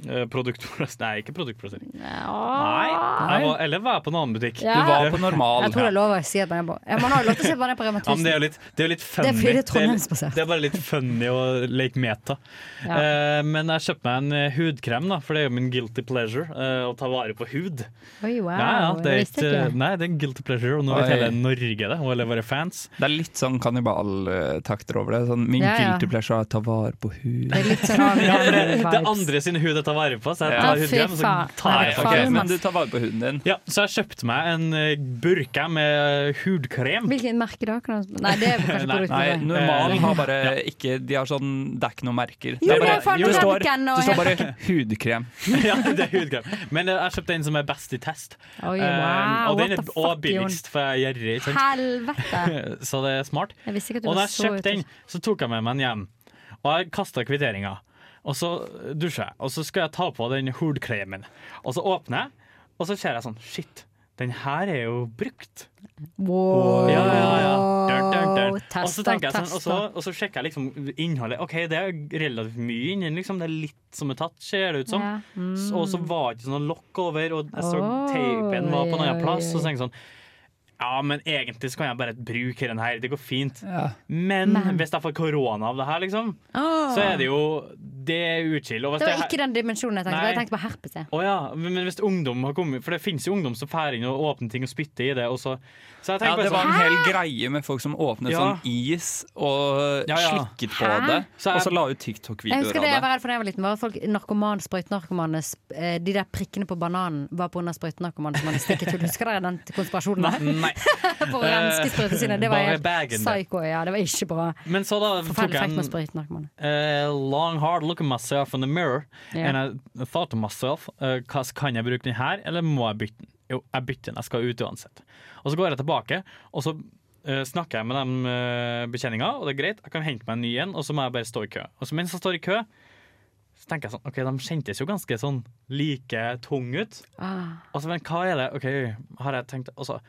S8: eh, Produktplass Nei, ikke produktplassering. Nei. Jeg var, eller var jeg på en annen butikk?
S4: Ah. Ja. Du var på
S8: normal.
S4: Jeg tror det er lov å si at man er på Ja, Man har jo lov til å si at man er på Rema
S8: Ja, men
S4: 1000.
S8: det er jo litt, det er jo litt funny.
S4: Det er fordi det er
S8: det, er bare litt funny å leke meta.
S4: Ja.
S8: Eh, men jeg kjøpte meg en eh, hudkrem, da, for det er jo min guilty pleasure eh, å ta vare på hud.
S4: Oi, wow.
S8: ja, ja, det, er eh,
S4: jeg visste
S8: ikke,
S4: ikke.
S8: nei, det er en guilty pleasure, og nå vet
S9: Oi.
S8: hele Norge det. Og alle våre fans.
S9: Det er litt sånn kannibaltakter over det. Sånn, min
S8: Ja, ja.
S9: guilty pleasure er å ta vare på hud.
S4: sånn
S8: ja, for det, det er andre sin hud jeg tar vare på, så jeg
S9: Ja.
S8: tar
S9: Ja, fy
S8: hudkrem. og Så
S9: faen.
S8: tar jeg
S9: Nei, ok, men du tar vare på huden din.
S8: Ja, så jeg kjøpte meg en eh, burka med hudkrem.
S4: Hvilket merke da? Kan jeg... Nei, det er kanskje
S9: Nei,
S4: produktet.
S9: nei,
S4: for meg.
S9: normal har bare ikke De har sånn Det er ikke noen merker.
S4: Jo,
S9: er bare,
S4: det er faen
S9: det, står,
S4: Redken og
S9: det står bare
S4: Redken.
S9: hudkrem.
S8: ja, det er hudkrem. Men eh, jeg kjøpte en som er best i test.
S4: Oi,
S8: Eh,
S4: wow,
S8: og
S4: what
S8: den er
S4: the
S8: og
S4: fuck, Jon?
S8: billigst, for jeg er gjerrig. ikke sant?
S4: Helvete!
S8: så det er smart.
S4: Jeg visste ikke at du
S8: Og da
S4: var
S8: jeg
S4: så
S8: kjøpte den, så tok jeg med meg den hjem. Og jeg kasta kvitteringa. Og så dusjer jeg, og så skal jeg ta på den hudkremen. Og så åpner jeg, og så ser jeg sånn Shit, den her er jo brukt.
S4: Wow.
S8: Ja, ja, ja. Dun, dun, dun.
S4: Tester,
S8: Og så tenker jeg sånn, og så,
S4: tester.
S8: og så sjekker jeg liksom innholdet. OK, det er relativt mye inni, liksom. Det er litt som er tatt, ser det ut som.
S4: Ja. Mm.
S8: S- Og så var det ikke sånn lokk over, og jeg så
S4: Oi,
S8: teipen var på en annen
S4: oi,
S8: plass. Og
S4: oi.
S8: så tenker jeg sånn ja, men egentlig så kan jeg bare bruke den her, det går fint.
S9: Ja.
S8: Men, hvis jeg får korona av det her, liksom,
S4: Ah.
S8: så er det jo Det er uchill. Og hvis
S4: Det var
S8: her-
S4: ikke den dimensjonen jeg tenkte på.
S8: Nei.
S4: Jeg tenkte på herpes. jeg.
S8: Å ja, men men hvis ungdom har kommet For det finnes jo ungdom som drar inn og åpner ting og spytter i det, og så Så jeg
S9: Ja,
S8: tenker
S9: det
S8: bare
S9: var en
S8: sånn
S9: hel greie med folk som åpnet
S8: Ja.
S9: sånn is og
S8: Ja, ja.
S9: slikket på
S8: Hæ?
S9: det,
S8: Så jeg-
S9: og så la ut
S4: Jeg
S9: TikTok-videoer
S4: husker det jeg
S9: av
S4: var
S9: det.
S4: redd for da jeg var liten. Var at folk, narkoman, sprøytenarkomane sp- eh, De der prikkene på bananen var på under sprøytenarkomane som hadde stikket hull. Husker dere den konspirasjonen der?
S8: Nei. Eh,
S4: på å renske sprøytene sine. Det var
S8: Bare
S4: helt
S8: bagen det.
S4: psycho. Ja, det var ikke bra.
S8: Men så da tok
S4: Forferdelig
S8: jeg
S4: fekt med
S8: en
S4: sprøytenarkomane.
S8: eh, long hard look at myself in the mirror,
S4: Ja.
S8: and I thought to myself eh, hva Kan jeg bruke den her, eller må jeg bytte den? Jo, jeg bytter den. Jeg skal ut uansett. Og så går jeg tilbake, og så eh, snakker jeg med de uh, betjeninga, og det er greit, jeg kan hente meg en ny en, og så må jeg bare stå i kø. Og så mens jeg står i kø, så tenker jeg sånn OK, de kjentes jo ganske sånn like tung ut.
S4: Ah.
S8: Og så, men hva er det? Ok, har jeg tenkt Og så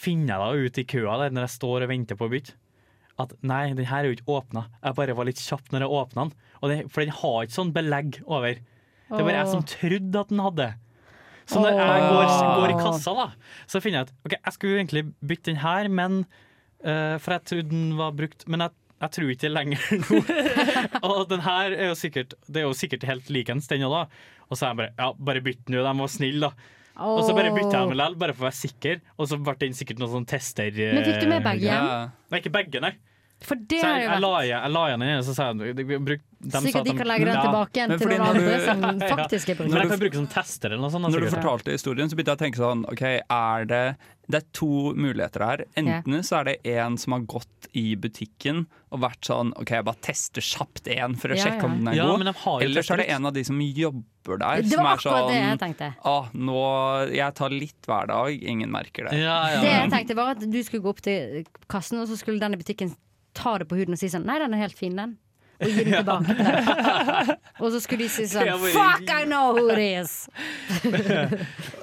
S8: finner jeg da ut i køa der når jeg står og venter på å bytte. At nei, den her er jo ikke åpna. Jeg bare var litt kjapp når jeg åpna den. Og den for den har ikke sånn belegg over. Det var jeg
S18: Åh.
S8: som trodde at den hadde. Så når jeg går, går i kassa, da, så finner jeg at ok, jeg skulle jo egentlig bytte den her, men eh, For jeg trodde den var brukt. Men jeg, jeg tror ikke det lenger nå. og den her er jo sikkert Det er jo sikkert helt likens, den òg, da. Og så er jeg bare Ja, bare bytt den, jo. De var snille, da. Og så bare bytta jeg den likevel, bare for å være sikker. Og så ble den sikkert noen sånn tester... eh,
S4: Men fikk du med begge hjem?
S8: Nei, ikke begge, nei.
S4: For det
S8: så
S4: har
S8: jeg,
S4: jo
S8: jeg, la,
S4: vært
S8: igjen- jeg la igjen den ene, så sa jeg de, bruk,
S4: Så ikke de kan legge den tilbake igjen Men til fordi noen når du- andre som faktisk er brukt.
S8: Men jeg kan bruke som tester eller noe sånt. da,
S9: Når du
S8: sikkert.
S9: fortalte historien, så begynte jeg å tenke sånn OK, er det Det er to muligheter her. Enten så er det en som har gått i butikken og vært sånn OK, jeg bare tester kjapt én for å
S4: Ja,
S9: sjekke
S4: ja.
S9: om den er
S8: Ja, men de har
S9: god.
S8: jo
S9: Eller så er det
S8: testet
S9: en av de som jobber der,
S4: Det
S9: som
S4: var
S9: er
S4: akkurat det jeg
S9: sånn
S4: tenkte.
S9: ah, nå, Jeg tar litt hver dag, ingen merker det.
S4: Det jeg tenkte var at du skulle gå opp til kassen, og så skulle den i butikken ta det på huden og si sånn Nei, den er helt fin, den. Og gi den tilbake til deg. Og så skulle de si sånn
S8: Det var-
S4: Fuck, I know who it is!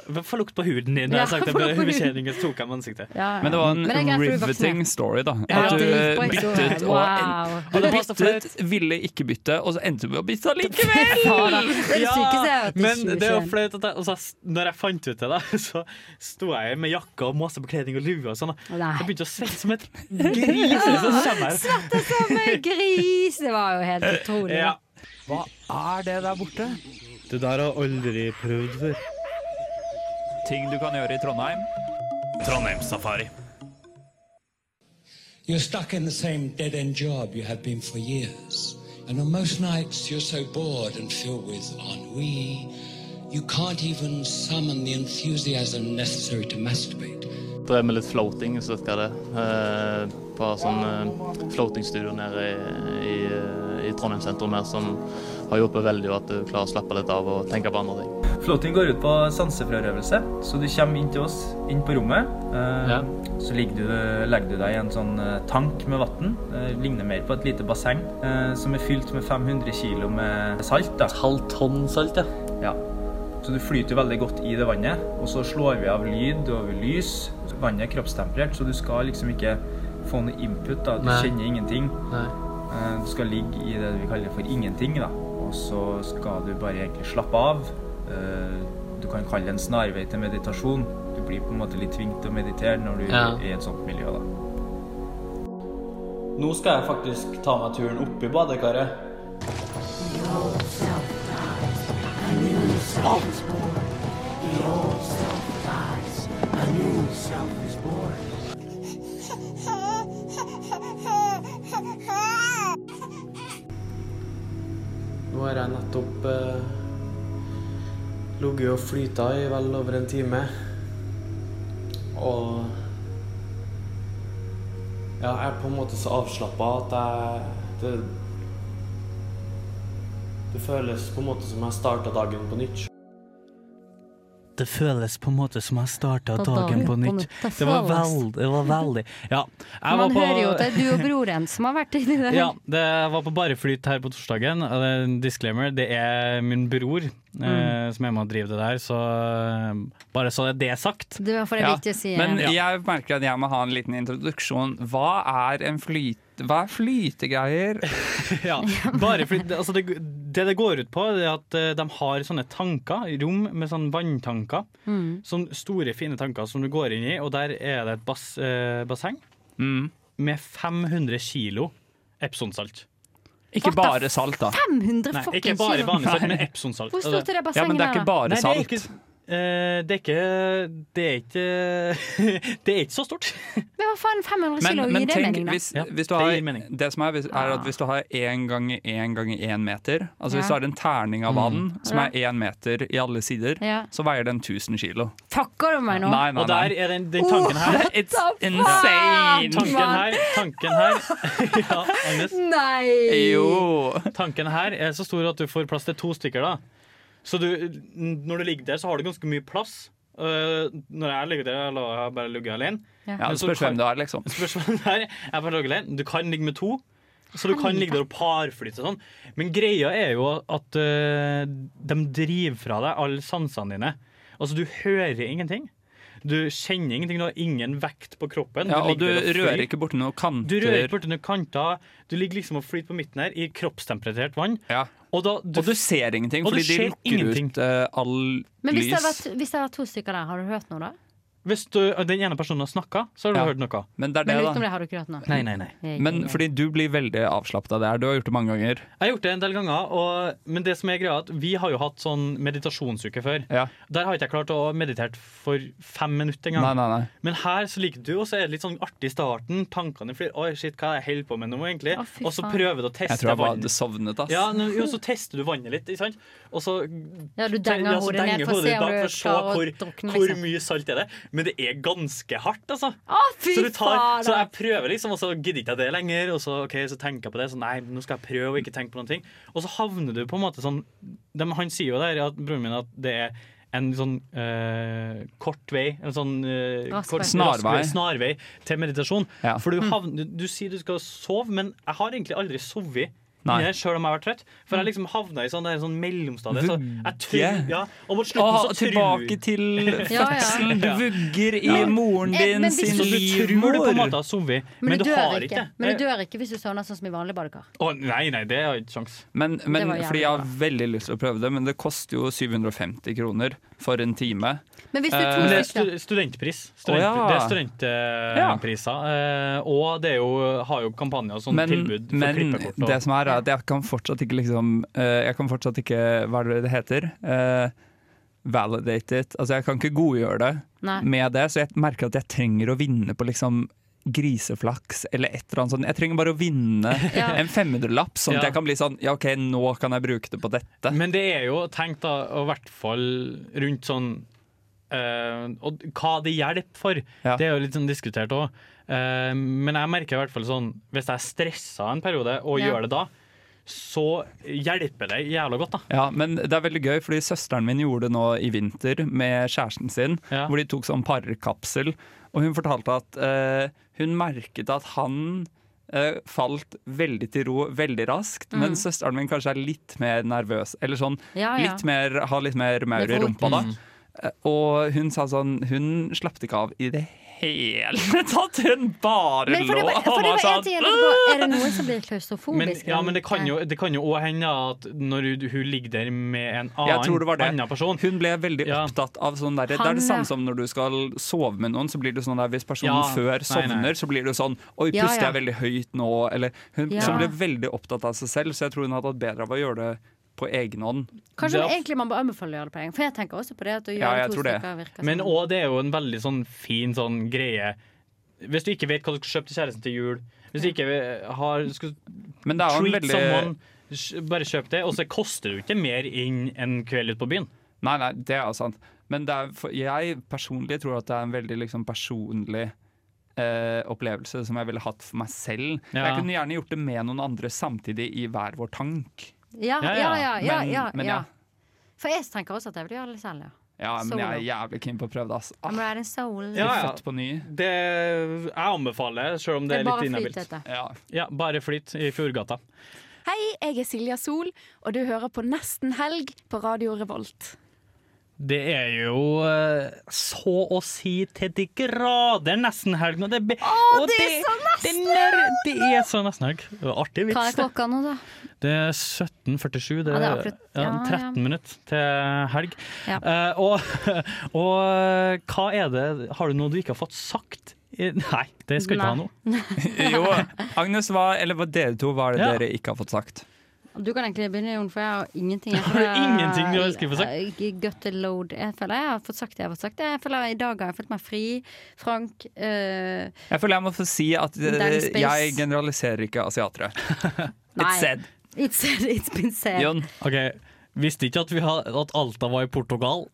S8: Men Få lukt på huden din.
S4: Ja,
S8: Ja, sagt, det
S4: få lukt
S8: ble-
S4: på huden.
S8: betjeningen tok av ansiktet.
S4: Ja, ja.
S9: Men det var en
S4: Men det er greit, for du er
S9: riveting
S4: voksen.
S9: story, da.
S4: Ja,
S9: At du eh,
S4: det gikk på en
S9: byttet
S4: historie.
S9: og
S4: Wow.
S9: Du
S4: Og det var så
S9: byttet, ville ikke bytte, og så endte du med å bytte allikevel!
S8: Ja, Men det er jo flaut at jeg, altså, jeg s- når jeg fant ut det, da, så sto jeg med jakka og måsebekledning og lue og sånn. da.
S4: Nei.
S8: Jeg begynte å svette som et gris. Så kommer jeg
S4: Svette som en gris! Det var jo helt utrolig.
S8: Ja.
S9: Hva er det der borte?
S3: Det der har jeg aldri prøvd før.
S9: ting du kan gjøre i Trondheim?
S8: Trondheimssafari.
S18: You're stuck in the same dead end job you have been for years. And on most nights, you're so bored and filled with ennui, you can't even summon the enthusiasm necessary to masturbate.
S19: Drev med litt floating, så virka det. Eh, På sånn eh, floatingstudio nede i, i, i Trondheim sentrum her, som har hjulpet veldig, og at du klarer å slappe litt av og tenke på andre ting.
S20: Floating går ut på sansefrarøvelse, så du kommer inn til oss, inn på rommet. Eh, Så ligger du, legger du deg i en sånn eh, tank med vann. Eh, ligner mer på et lite basseng eh, som er fylt med 500 kilo med salt. Da. Halvt tonn salt, ja. ja. Så du flyter jo veldig godt i det vannet, og så slår vi av lyd og lys. Vannet er kroppstemperert, så du skal liksom ikke få noe input. da. Du
S19: Nei.
S20: kjenner ingenting. Eh, Du skal ligge i det vi kaller for ingenting, da. Og så skal du bare egentlig slappe av. Eh, Du kan kalle det en snarvei til meditasjon. Du blir på en måte litt tvunget til å meditere når du
S19: Ja.
S20: er i et sånt miljø, da.
S19: Nå skal jeg faktisk ta meg turen opp i badekaret.
S21: Nå har jeg nettopp eh, ligget og flyta i vel over en time. Og ja, jeg er på en måte så avslappa at jeg det, det føles på en måte som jeg starta dagen på nytt.
S8: Det føles på en måte som jeg starta
S4: Da
S8: dagen på nytt.
S4: Det
S8: Det var
S4: føles.
S8: veldig, det var veldig. Ja, jeg var
S4: Man
S8: på
S4: hører jo at det er du og broren som har vært inni det.
S8: Ja, det var på bare flyt her på torsdagen. og det er en Disclaimer, det er min bror eh,
S4: Mm.
S8: som er med og driver det der, så eh, bare så det er sagt.
S4: Det var for det er viktig å si. eh,
S9: Men
S4: ja.
S9: jeg merker at jeg må ha en liten introduksjon. Hva er en flyt... Hva er flytegreier?
S8: ja, bare fordi altså det, det det går ut på, det er at eh, de har sånne tanker, rom med sånne vanntanker.
S22: Mm.
S8: Sånne store, fine tanker som du går inn i, og der er det et bass, eh, basseng med 500 kilo Epsonsalt.
S9: Ikke bare salt, da.
S4: 500
S8: Nei,
S4: fucking
S8: ikke bare
S4: kilo.
S8: vanlig salt, men Epsonsalt.
S4: Hvor stort er det bassenget
S9: Ja, men det er ikke der, da? bare
S8: Nei,
S9: salt.
S8: Det er ikke, eh, det er ikke Det er ikke, det er ikke så stort.
S4: Men hva faen, 500
S9: Men,
S4: kilo,
S9: men
S4: gir det
S9: tenk,
S4: mening, da?
S9: hvis, hvis du har, det som er, hvis- er at hvis du har én ganger én ganger én meter Altså Hvis du
S4: Ja.
S9: har en terning av vann som er én meter i alle sider,
S4: Ja.
S9: så veier den 1000 kilo.
S4: Fucker du meg nå?
S9: Nei, nei,
S8: Og der
S9: nei.
S8: er den, den tanken her.
S9: What It's the
S4: insane. fuck,
S8: Tanken her,
S4: man.
S8: tanken her Ja, Agnes.
S4: Nei!
S8: Tanken her er så stor at du får plass til to stykker, da. Så du, n- når du ligger der, så har du ganske mye plass. Eh, når jeg ligger der, la jeg bare ligge alene.
S9: Ja,
S8: Men
S9: det
S8: så
S9: spørs
S8: kan-
S9: hvem du er, liksom.
S8: Spørs hvem du er. Jeg bare ligger alene. Du kan ligge med to. Så du kan ligge der og parflytte og sånn. Men greia er jo at eh, de driver fra deg alle sansene dine. Altså, du hører ingenting. Du kjenner ingenting. Du har ingen vekt på kroppen.
S9: Ja, og du
S8: ligger der
S9: rører
S8: flyter.
S9: ikke borti noen kanter.
S8: Du rører ikke borti noen kanter. Du ligger liksom og flyter på midten her i kroppstemperert vann. Og, da, du,
S9: Og du ser ingenting,
S8: Og du
S9: fordi de
S8: ser
S9: lukker
S8: ingenting.
S9: ut eh, all
S4: Men hvis det,
S9: lys.
S4: har vært, hvis det har vært to stykker der, har du hørt noe da?
S8: Hvis du, den ene personen har snakka, så har du hørt noe.
S9: Men det er
S4: Men
S9: det,
S4: utenom
S9: da.
S4: det har du ikke hørt noe?
S8: Nei, nei, nei.
S9: Men fordi du blir veldig avslappet av det her. Du har gjort det mange ganger.
S8: Jeg har gjort det en del ganger, og, men det som er greia er at vi har jo hatt sånn meditasjonsuke før. Der har ikke jeg klart å meditere for fem minutter engang.
S9: Nei, nei, nei.
S8: Men her så ligger du, og så er det litt sånn artig i starten. Tankene flyr. Oi, shit, hva er det jeg holder på med nå, egentlig?
S9: fy
S8: og så
S9: faen.
S8: prøver du å
S9: Jeg
S8: teste
S9: tror jeg bare
S8: vann-
S9: hadde sovnet, ass.
S8: Ja, men, jo, så tester du vannet litt, ikke sant? Og så
S4: Ja, du denger
S8: så altså,
S4: hodet ned
S8: denger
S4: for å se
S8: hodet
S4: om
S8: bak
S4: du
S8: for å se
S4: klarer å
S8: hvor,
S4: drukne,
S8: hvor
S4: liksom.
S8: mye salt er det. Men det er ganske hardt, altså.
S4: Å, fy
S8: så, du tar,
S4: faen,
S8: så
S4: da.
S8: jeg prøver, liksom, og så gidder ikke jeg det lenger. Og så, ok, så tenker jeg på det, så nei, nå skal jeg prøve å ikke tenke på noen ting. Og så havner du på en måte sånn de, Han sier jo der, at, broren min, at det er en sånn eh, kort vei, en sånn eh,
S9: Rask
S8: kort,
S9: vei.
S8: rask vei,
S9: Snarvei.
S8: snarvei til meditasjon. For du, havner, du, du sier du skal sove, men jeg har egentlig aldri sovet
S9: Nei.
S8: Nei. Selv om jeg har vært trøtt. For
S4: Mm.
S8: jeg liksom havna i sånn, der sånn mellomstadie. Så jeg tror,
S9: Vugge.
S8: ja, og mot slutten
S9: Å,
S8: så tror
S9: tilbake til fødselen. Du vugger i moren
S4: Eh, din men hvis- sin
S8: Så du tror du på en måte har sovet, men,
S4: Men du,
S8: du
S4: dør
S8: har
S4: ikke.
S8: ikke. Eh.
S4: Men du dør ikke hvis du sovner sånn som i vanlig badekar.
S8: Å, nei, nei, det har jeg ikke sjans.
S9: Men,
S4: Det
S9: men
S4: var jævlig
S9: fordi jeg har veldig lyst til å prøve det, men det koster jo 750 kroner for en time.
S4: Men hvis du
S9: Eh,
S8: Men det er stu- studentpris. Student,
S9: Å, ja.
S8: Det er studentpriser. eh, Og det er jo, har jo kampanjer og sånn
S9: men,
S8: tilbud for
S9: men
S8: klippekort. Og,
S9: det som er, er at jeg kan fortsatt ikke liksom eh, Jeg kan fortsatt ikke Hva er det det heter? Eh, validate it. Altså, jeg kan ikke godgjøre det
S4: Nei.
S9: med det, så jeg merker at jeg trenger å vinne på liksom griseflaks eller et eller annet sånt. Jeg trenger bare å vinne
S8: Ja.
S9: en 500-lapp, sånn at
S8: Ja.
S9: jeg kan bli sånn Ja, OK, nå kan jeg bruke det på dette.
S8: Men det er jo tenkt da, å i hvert fall rundt sånn eh, Og hva det hjelper for. Det er jo litt sånn diskutert òg. men jeg merker i hvert fall sånn hvis jeg stressa en periode og
S9: Ja.
S8: gjør det da, så hjelper det jævla godt, da.
S9: Ja, men det er veldig gøy, fordi søsteren min gjorde det nå i vinter med kjæresten sin, hvor de tok sånn parkapsel, og hun fortalte at eh, hun merket at han eh, falt veldig til ro veldig raskt,
S4: Mm.
S9: men søsteren min kanskje er litt mer nervøs, eller sånn,
S4: Ja, ja.
S9: litt mer, har litt mer maur i
S4: Litt
S9: rumpa da.
S4: vondt. Mm.
S9: Eh, Og hun sa sånn, hun slapp det ikke av i det hele tatt, hun bare
S4: Men for det,
S9: lå
S4: var- for det
S9: og var
S4: var en
S9: sånn,
S4: ting jeg lurte på. Er det noen som blir klaustrofobisk? Eh.
S8: Men, ja,
S4: rundt
S8: men det kan
S4: det?
S8: jo det kan jo òg hende at når hun- hun ligger der med en
S9: Jeg tror
S8: annen,
S9: det var det.
S8: annen person
S9: Hun ble veldig opptatt av sånn der, Det
S8: Han,
S9: er det
S8: ja.
S9: samme som når du skal sove med noen, så blir det sånn der hvis personen
S8: Ja, nei,
S9: før sovner,
S8: nei.
S9: så blir det jo sånn Oi,
S8: Ja,
S9: puster
S8: ja.
S9: jeg veldig høyt nå? Eller hun
S4: Ja.
S9: som ble veldig opptatt av seg selv, så jeg tror hun hadde hatt bedre av å gjøre det på egen hånd.
S4: Kanskje egentlig man bør anbefale å gjøre det på egen For jeg tenker også på det. At å gjøre
S8: Ja, jeg
S4: det to
S8: tror det.
S4: stykker virker
S8: Men
S4: som-
S8: òg det er jo en veldig sånn fin sånn greie Hvis du ikke vet hva du skal kjøpe til kjæresten til jul, hvis du ikke har skal
S9: Men det er jo en
S8: treat
S9: veldig-
S8: someone, sj- bare kjøp det, og så koster det jo ikke mer inn en kveld ute på byen.
S9: Nei, nei, det er jo sant. Men det er, for, jeg personlig tror at det er en veldig liksom, personlig eh, opplevelse som jeg ville hatt for meg selv.
S8: Ja.
S9: Jeg kunne gjerne gjort det med noen andre samtidig i hver vår tank.
S4: Ja, ja, ja. ja, ja,
S9: Men-
S4: ja,
S9: men ja.
S4: For jeg tenker også at jeg vil gjøre det selv, ja.
S9: Ja, men jeg er
S4: Solo.
S9: jævlig keen på å prøve det, altså.
S4: I'm riding solo.
S9: Født på ny.
S8: Det, jeg anbefaler, selv om det
S4: Det er
S8: er
S4: bare
S8: litt
S4: flyt,
S8: inhabilt.
S4: dette.
S9: Ja.
S8: bare flyt i Fjordgata.
S5: Hei, jeg er Silja Sol, og du hører på Nesten helg på Radio Revolt.
S8: Det er jo eh, så å si til de grader nesten helg nå. Det, be- og
S5: det er så
S8: nesten! Det, nær- det er så nesten helg. Det var Artig
S4: Hva er
S8: vits. det.
S4: klokka nå, da?
S8: Det er 17.47. Det
S4: Ja,
S8: er
S4: det er akkurat-
S8: ja,
S4: ja,
S8: 13
S4: ja.
S8: minutter til helg.
S4: Ja.
S8: Eh, og, og hva er det Har du noe du ikke har fått sagt? I- Nei, det skal jeg ikke ha nå.
S9: jo, Agnes, hva, eller hva dere to, hva er det
S8: Ja.
S9: dere ikke har fått sagt?
S4: Du kan egentlig begynne, Jon, for jeg har ingenting. Jeg
S8: Har du ingenting du ønsker å få sagt?
S4: Jeg- Gutter load. Jeg føler jeg har fått sagt det jeg har fått sagt. Jeg føler I dag har jeg følt meg fri. Frank. eh,
S9: Jeg føler jeg må få si at eh,
S4: Dead Space.
S9: jeg generaliserer ikke asiatere. It's said.
S4: It's, it's been said.
S8: Ok, Visste ikke at, vi har, at Alta var i Portugal.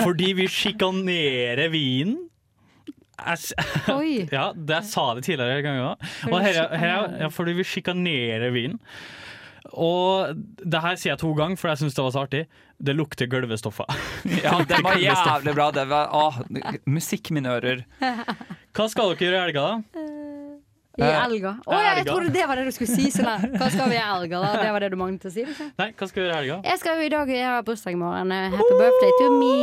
S8: Fordi vi sjikanerer vinen. Æsj.
S4: Oi.
S8: Ja, det jeg sa det tidligere ganger òg.
S4: Fordi
S8: Og
S4: vi
S8: her, her,
S4: sjikanerer.
S8: ja, fordi vi sjikanerer vinen. Og det her sier jeg to ganger, for jeg syns det var så artig. Det lukter gulvestoffer.
S9: Ja, det var jævlig bra. Det var, ah, musikk mine ører.
S8: Hva skal dere gjøre i helga, da?
S4: I
S8: Eh,
S4: elga. Å ja, jeg
S8: elga.
S4: trodde det var det du skulle si. Sånn der. Hva skal vi i elga, da? Det var det du manglet å si. Liksom.
S8: Nei, hva skal vi gjøre i helga?
S4: Jeg skal jo i dag Jeg har bursdag i morgen. eh, Happy birthday to me.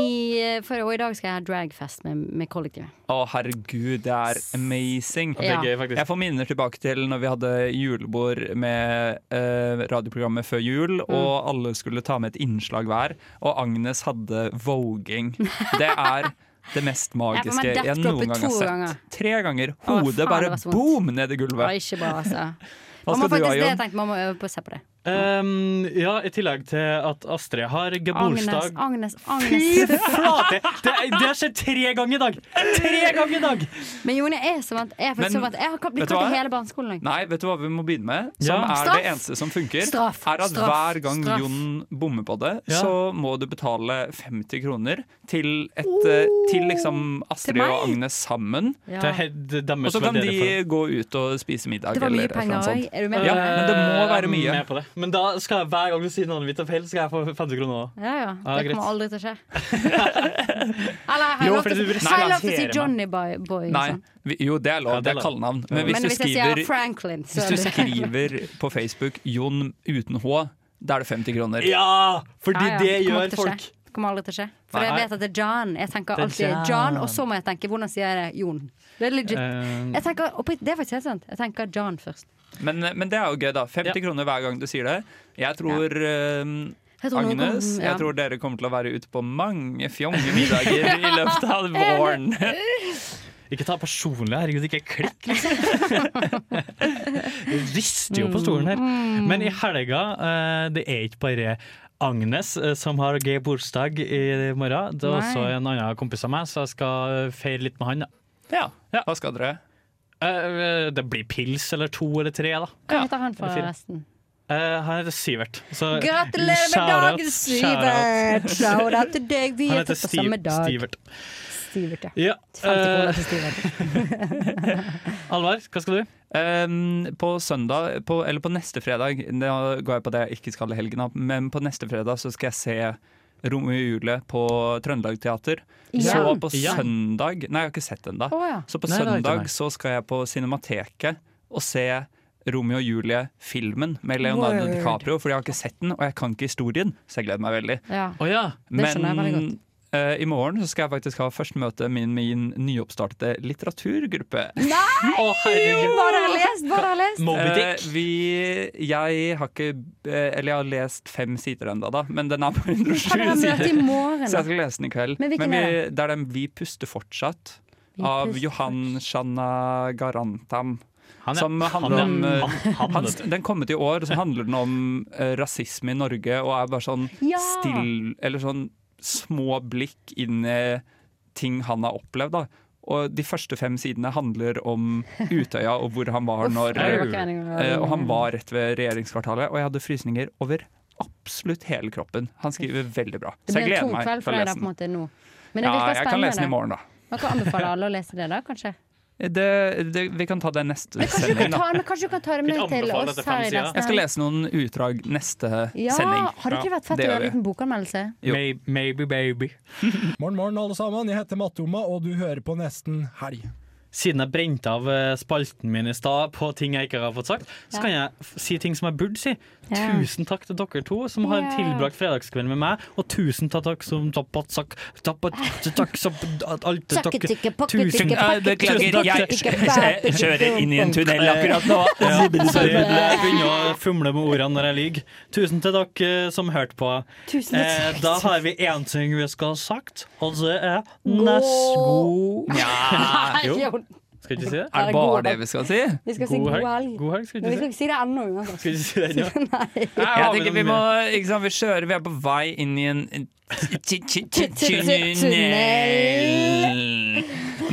S4: eh, For, og i dag skal jeg ha dragfest med, med kollektivet.
S9: Å, herregud, det er amazing.
S4: Det er gøy, faktisk.
S9: jeg får minner tilbake til når vi hadde julebord med eh, radioprogrammet før jul,
S4: Mm.
S9: og alle skulle ta med et innslag hver, og Agnes hadde voging. Det er det mest
S4: Jeg får
S9: magiske
S4: meg
S9: jeg,
S4: death
S9: noen
S4: droppet
S9: gang har
S4: to
S9: sett.
S4: ganger.
S9: Tre ganger.
S4: Å,
S9: Hodet
S4: faen, det
S9: bare
S4: var så vondt.
S9: boom ned i
S4: Det var
S9: gulvet.
S4: ikke bra, altså.
S9: Hva
S4: Man må
S9: skal du ha,
S4: faktisk det jeg
S9: Jon?
S4: tenkte, man må øve på å se på det.
S8: Um, ja, I tillegg til at Astrid har
S4: Agnes,
S8: gebursdag.
S4: Agnes,
S8: Fy
S4: Agnes.
S8: flate! Det, det har skjedd tre ganger i dag! Tre ganger i dag!
S4: Men Jon, jeg er som at jeg, er faktisk
S9: Men,
S4: som at jeg har blitt
S9: vet du
S4: kalt i
S9: hva?
S4: hele barneskolen. jeg.
S9: Nei, vet du hva vi må begynne med? Som
S4: Ja.
S9: er
S4: Straff.
S9: det eneste som funker,
S4: Straff.
S9: er at
S4: Straff.
S9: hver gang
S4: Straff.
S9: Jon bommer på det,
S4: Ja.
S9: så må du betale 50 kroner til, et, eh, til liksom
S4: Oh.
S9: Astrid
S4: meg?
S9: og Agnes sammen.
S4: Ja. Til
S8: deres
S9: Og så kan
S8: veldedige
S9: de gå ut og spise middag.
S4: Det var mye
S9: eller et eller annet
S4: penger
S9: sånt.
S4: også, er du med på
S9: sånn- Ja,
S4: det?
S9: men det må
S8: Jeg
S9: være
S8: er
S9: mye.
S8: Eh, med på det. Men da skal jeg hver gang du sier navnet mitt og feil, skal jeg få 50 kroner òg.
S4: Ja, ja.
S8: Ja,
S4: Det kommer
S8: greit.
S4: aldri til å skje. Eller har jeg
S9: Jo,
S4: lov
S9: fordi
S4: til-
S9: du
S4: har jeg lov til å si
S9: representerer meg.
S4: Johnny Boy? boy og
S9: Nei,
S4: sånn?
S9: vi, jo det er lov, det er kallenavn. Men hvis,
S4: Men hvis
S9: du
S4: jeg
S9: skriver,
S4: sier Franklin, så
S9: hvis
S4: er
S9: du
S4: det-
S9: skriver på Facebook 'Jon uten H', da er det 50 kroner.
S8: Ja,
S4: Ja, ja, kommer ikke til å skje. Det kommer aldri til å skje. For
S9: Nei.
S4: jeg vet at det er John. Jeg tenker
S9: Det er
S4: alltid John.
S9: John.
S4: og så må jeg tenke hvordan sier jeg det? Jon. Det er legit.
S9: Eh.
S4: Jeg tenker, oppriktig- det er faktisk helt sant. Jeg tenker John først.
S9: Men, men det er jo gøy, da. 50 kroner hver gang du sier det. Jeg tror ehm,
S4: Jeg tror noen
S9: Agnes,
S4: kommer- ja.
S9: jeg tror dere kommer til å være ute på mange fjonge middager i løpet av våren.
S8: Ikke ta personlig, herregud, ikke klikk,
S4: Mm.
S8: liksom. Det rister jo på stolen her. Men i helga, eh, det er ikke bare Agnes, eh, som har gay bursdag i morgen. Det er
S9: Nei.
S8: også en annen kompis av meg, så jeg skal feire litt med han. Eh,
S9: Ja. Hva skal dere?
S8: Det blir pils eller to eller tre, da.
S4: Hva heter
S8: Eller
S4: han
S8: fire.
S4: forresten?
S8: Eh, Han heter Sivert. Så
S4: Gratulerer med
S8: shout out,
S4: dagen,
S8: shout out.
S4: Sivert! Shout out til deg. Vi
S8: Han
S4: er
S8: heter
S4: født på samme
S8: Stiv-
S4: dag.
S8: Stivert.
S4: Stivert, ja.
S8: Ja,
S4: 50
S8: eh,
S4: kroner til Stivert.
S9: Alvar, hva skal du? Ehm, på søndag, på, eller på neste fredag Da går jeg på det jeg ikke skal i helgen da, Men på neste fredag så skal jeg se Romeo på Trøndelag Teater
S8: Igjen?
S9: Så på
S8: Igjen?
S9: søndag Nei, jeg har ikke sett den da
S8: Å, ja.
S9: Så på
S8: Nei, det har jeg ikke, nei.
S9: søndag så skal jeg på Cinemateket Og se Romeo og Julie filmen Med Leonardo
S8: Word.
S9: DiCaprio Fordi jeg har ikke sett den, og jeg kan ikke historien Så jeg gleder meg veldig
S4: Ja.
S8: Å ja.
S9: men eh, i morgen så skal jeg faktisk ha første møte med min nyoppstartede litteraturgruppe.
S4: Nei!
S8: Å, herregud.
S4: Bare har lest, bare har lest.
S9: Eh, vi, jeg har ikke eh, Eller jeg har lest fem sider ennå, da, men den er på 107
S4: Kan dere ha møte i
S9: sider.
S4: morgen, eh, da?
S9: Så jeg skal lese den i kveld.
S4: Men hvilken
S9: vi,
S4: er
S9: det er den Vi puster fortsatt,
S4: Vi
S9: av
S4: puster
S9: Johan Shanna Garantam.
S8: Han er-
S9: som handler
S8: han er-
S9: om eh,
S8: han- han-
S9: hans- Den kom ut i år, så handler den om eh, rasisme i Norge, og er bare sånn
S8: Ja!
S9: still Eller sånn små blikk inn i ting han har opplevd, da. Og de første fem sidene handler om Utøya og hvor han var
S4: Uff,
S9: når
S4: det var ikke meningen å være
S9: eh, Og han
S4: inne.
S9: var rett ved regjeringskvartalet, og jeg hadde frysninger over absolutt hele kroppen. Han skriver veldig bra.
S4: Det
S9: Så jeg
S4: blir to
S9: gleder meg
S4: kveld
S9: til
S4: for
S9: å
S4: deg da, på
S9: lese
S4: en
S9: den.
S4: måte, nå. Men det virker
S9: Ja, jeg kan
S4: spennende.
S9: lese den i morgen, da.
S4: Man kan anbefale alle å lese det, da, kanskje.
S9: Det, det, vi kan ta det neste
S4: Kanskje du
S9: sending,
S4: kan ta,
S9: da.
S4: men kanskje du kan ta det med til oss her i nesten
S9: Jeg skal lese noen utdrag neste
S4: Ja,
S9: sending.
S4: Hadde ikke det vært fett å
S9: gjør Eh,
S4: gjøre en
S9: vi.
S4: liten bokanmeldelse?
S3: Maybe,
S8: baby.
S3: morgen, morgen, alle sammen. Jeg heter Mattoma, og du hører på Nesten Helg.
S8: Siden jeg brente av eh, spalten min i stad på ting jeg ikke har fått sagt, så
S3: Ja.
S8: kan jeg f- si ting som jeg burde si.
S3: Ja.
S8: Tusen takk til dere to som har
S3: Ja.
S8: tilbrakt fredagskvelden med meg, og tusen takk som tapatsak Takk som at alt dere-
S4: Takketikke,
S8: Tusen-
S4: pakketikke,
S8: Nei, det klager.
S4: pakketikke,
S8: Jeg-
S4: pakketikke,
S8: jeg-
S4: pakketikke,
S8: kjører inn i en tunnel akkurat nå. Ja, sorry, jeg begynner å fumle med ordene når jeg lyver. Tusen til dere eh, som hørte på.
S4: Tusen takk.
S8: Eh, Da har vi én ting vi skal ha sagt, og det er
S4: God-
S8: nesko...
S9: Ja.
S8: Jo. Skal ikke si det?
S9: Er det bare det vi skal si?
S4: Vi skal si god helg.
S8: God helg skal
S4: Men vi skal
S8: ikke si.
S4: ikke si det ennå, uansett.
S8: Skal ikke si det ennå.
S9: Jeg tenker vi må ikke sant, Vi kjører, vi er på vei inn i en en t- t- t- tunnel.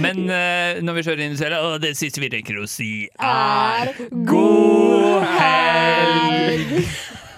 S9: Men eh, når vi kjører inn i tunnelen, og det siste vi rekker å si, er
S4: God helg!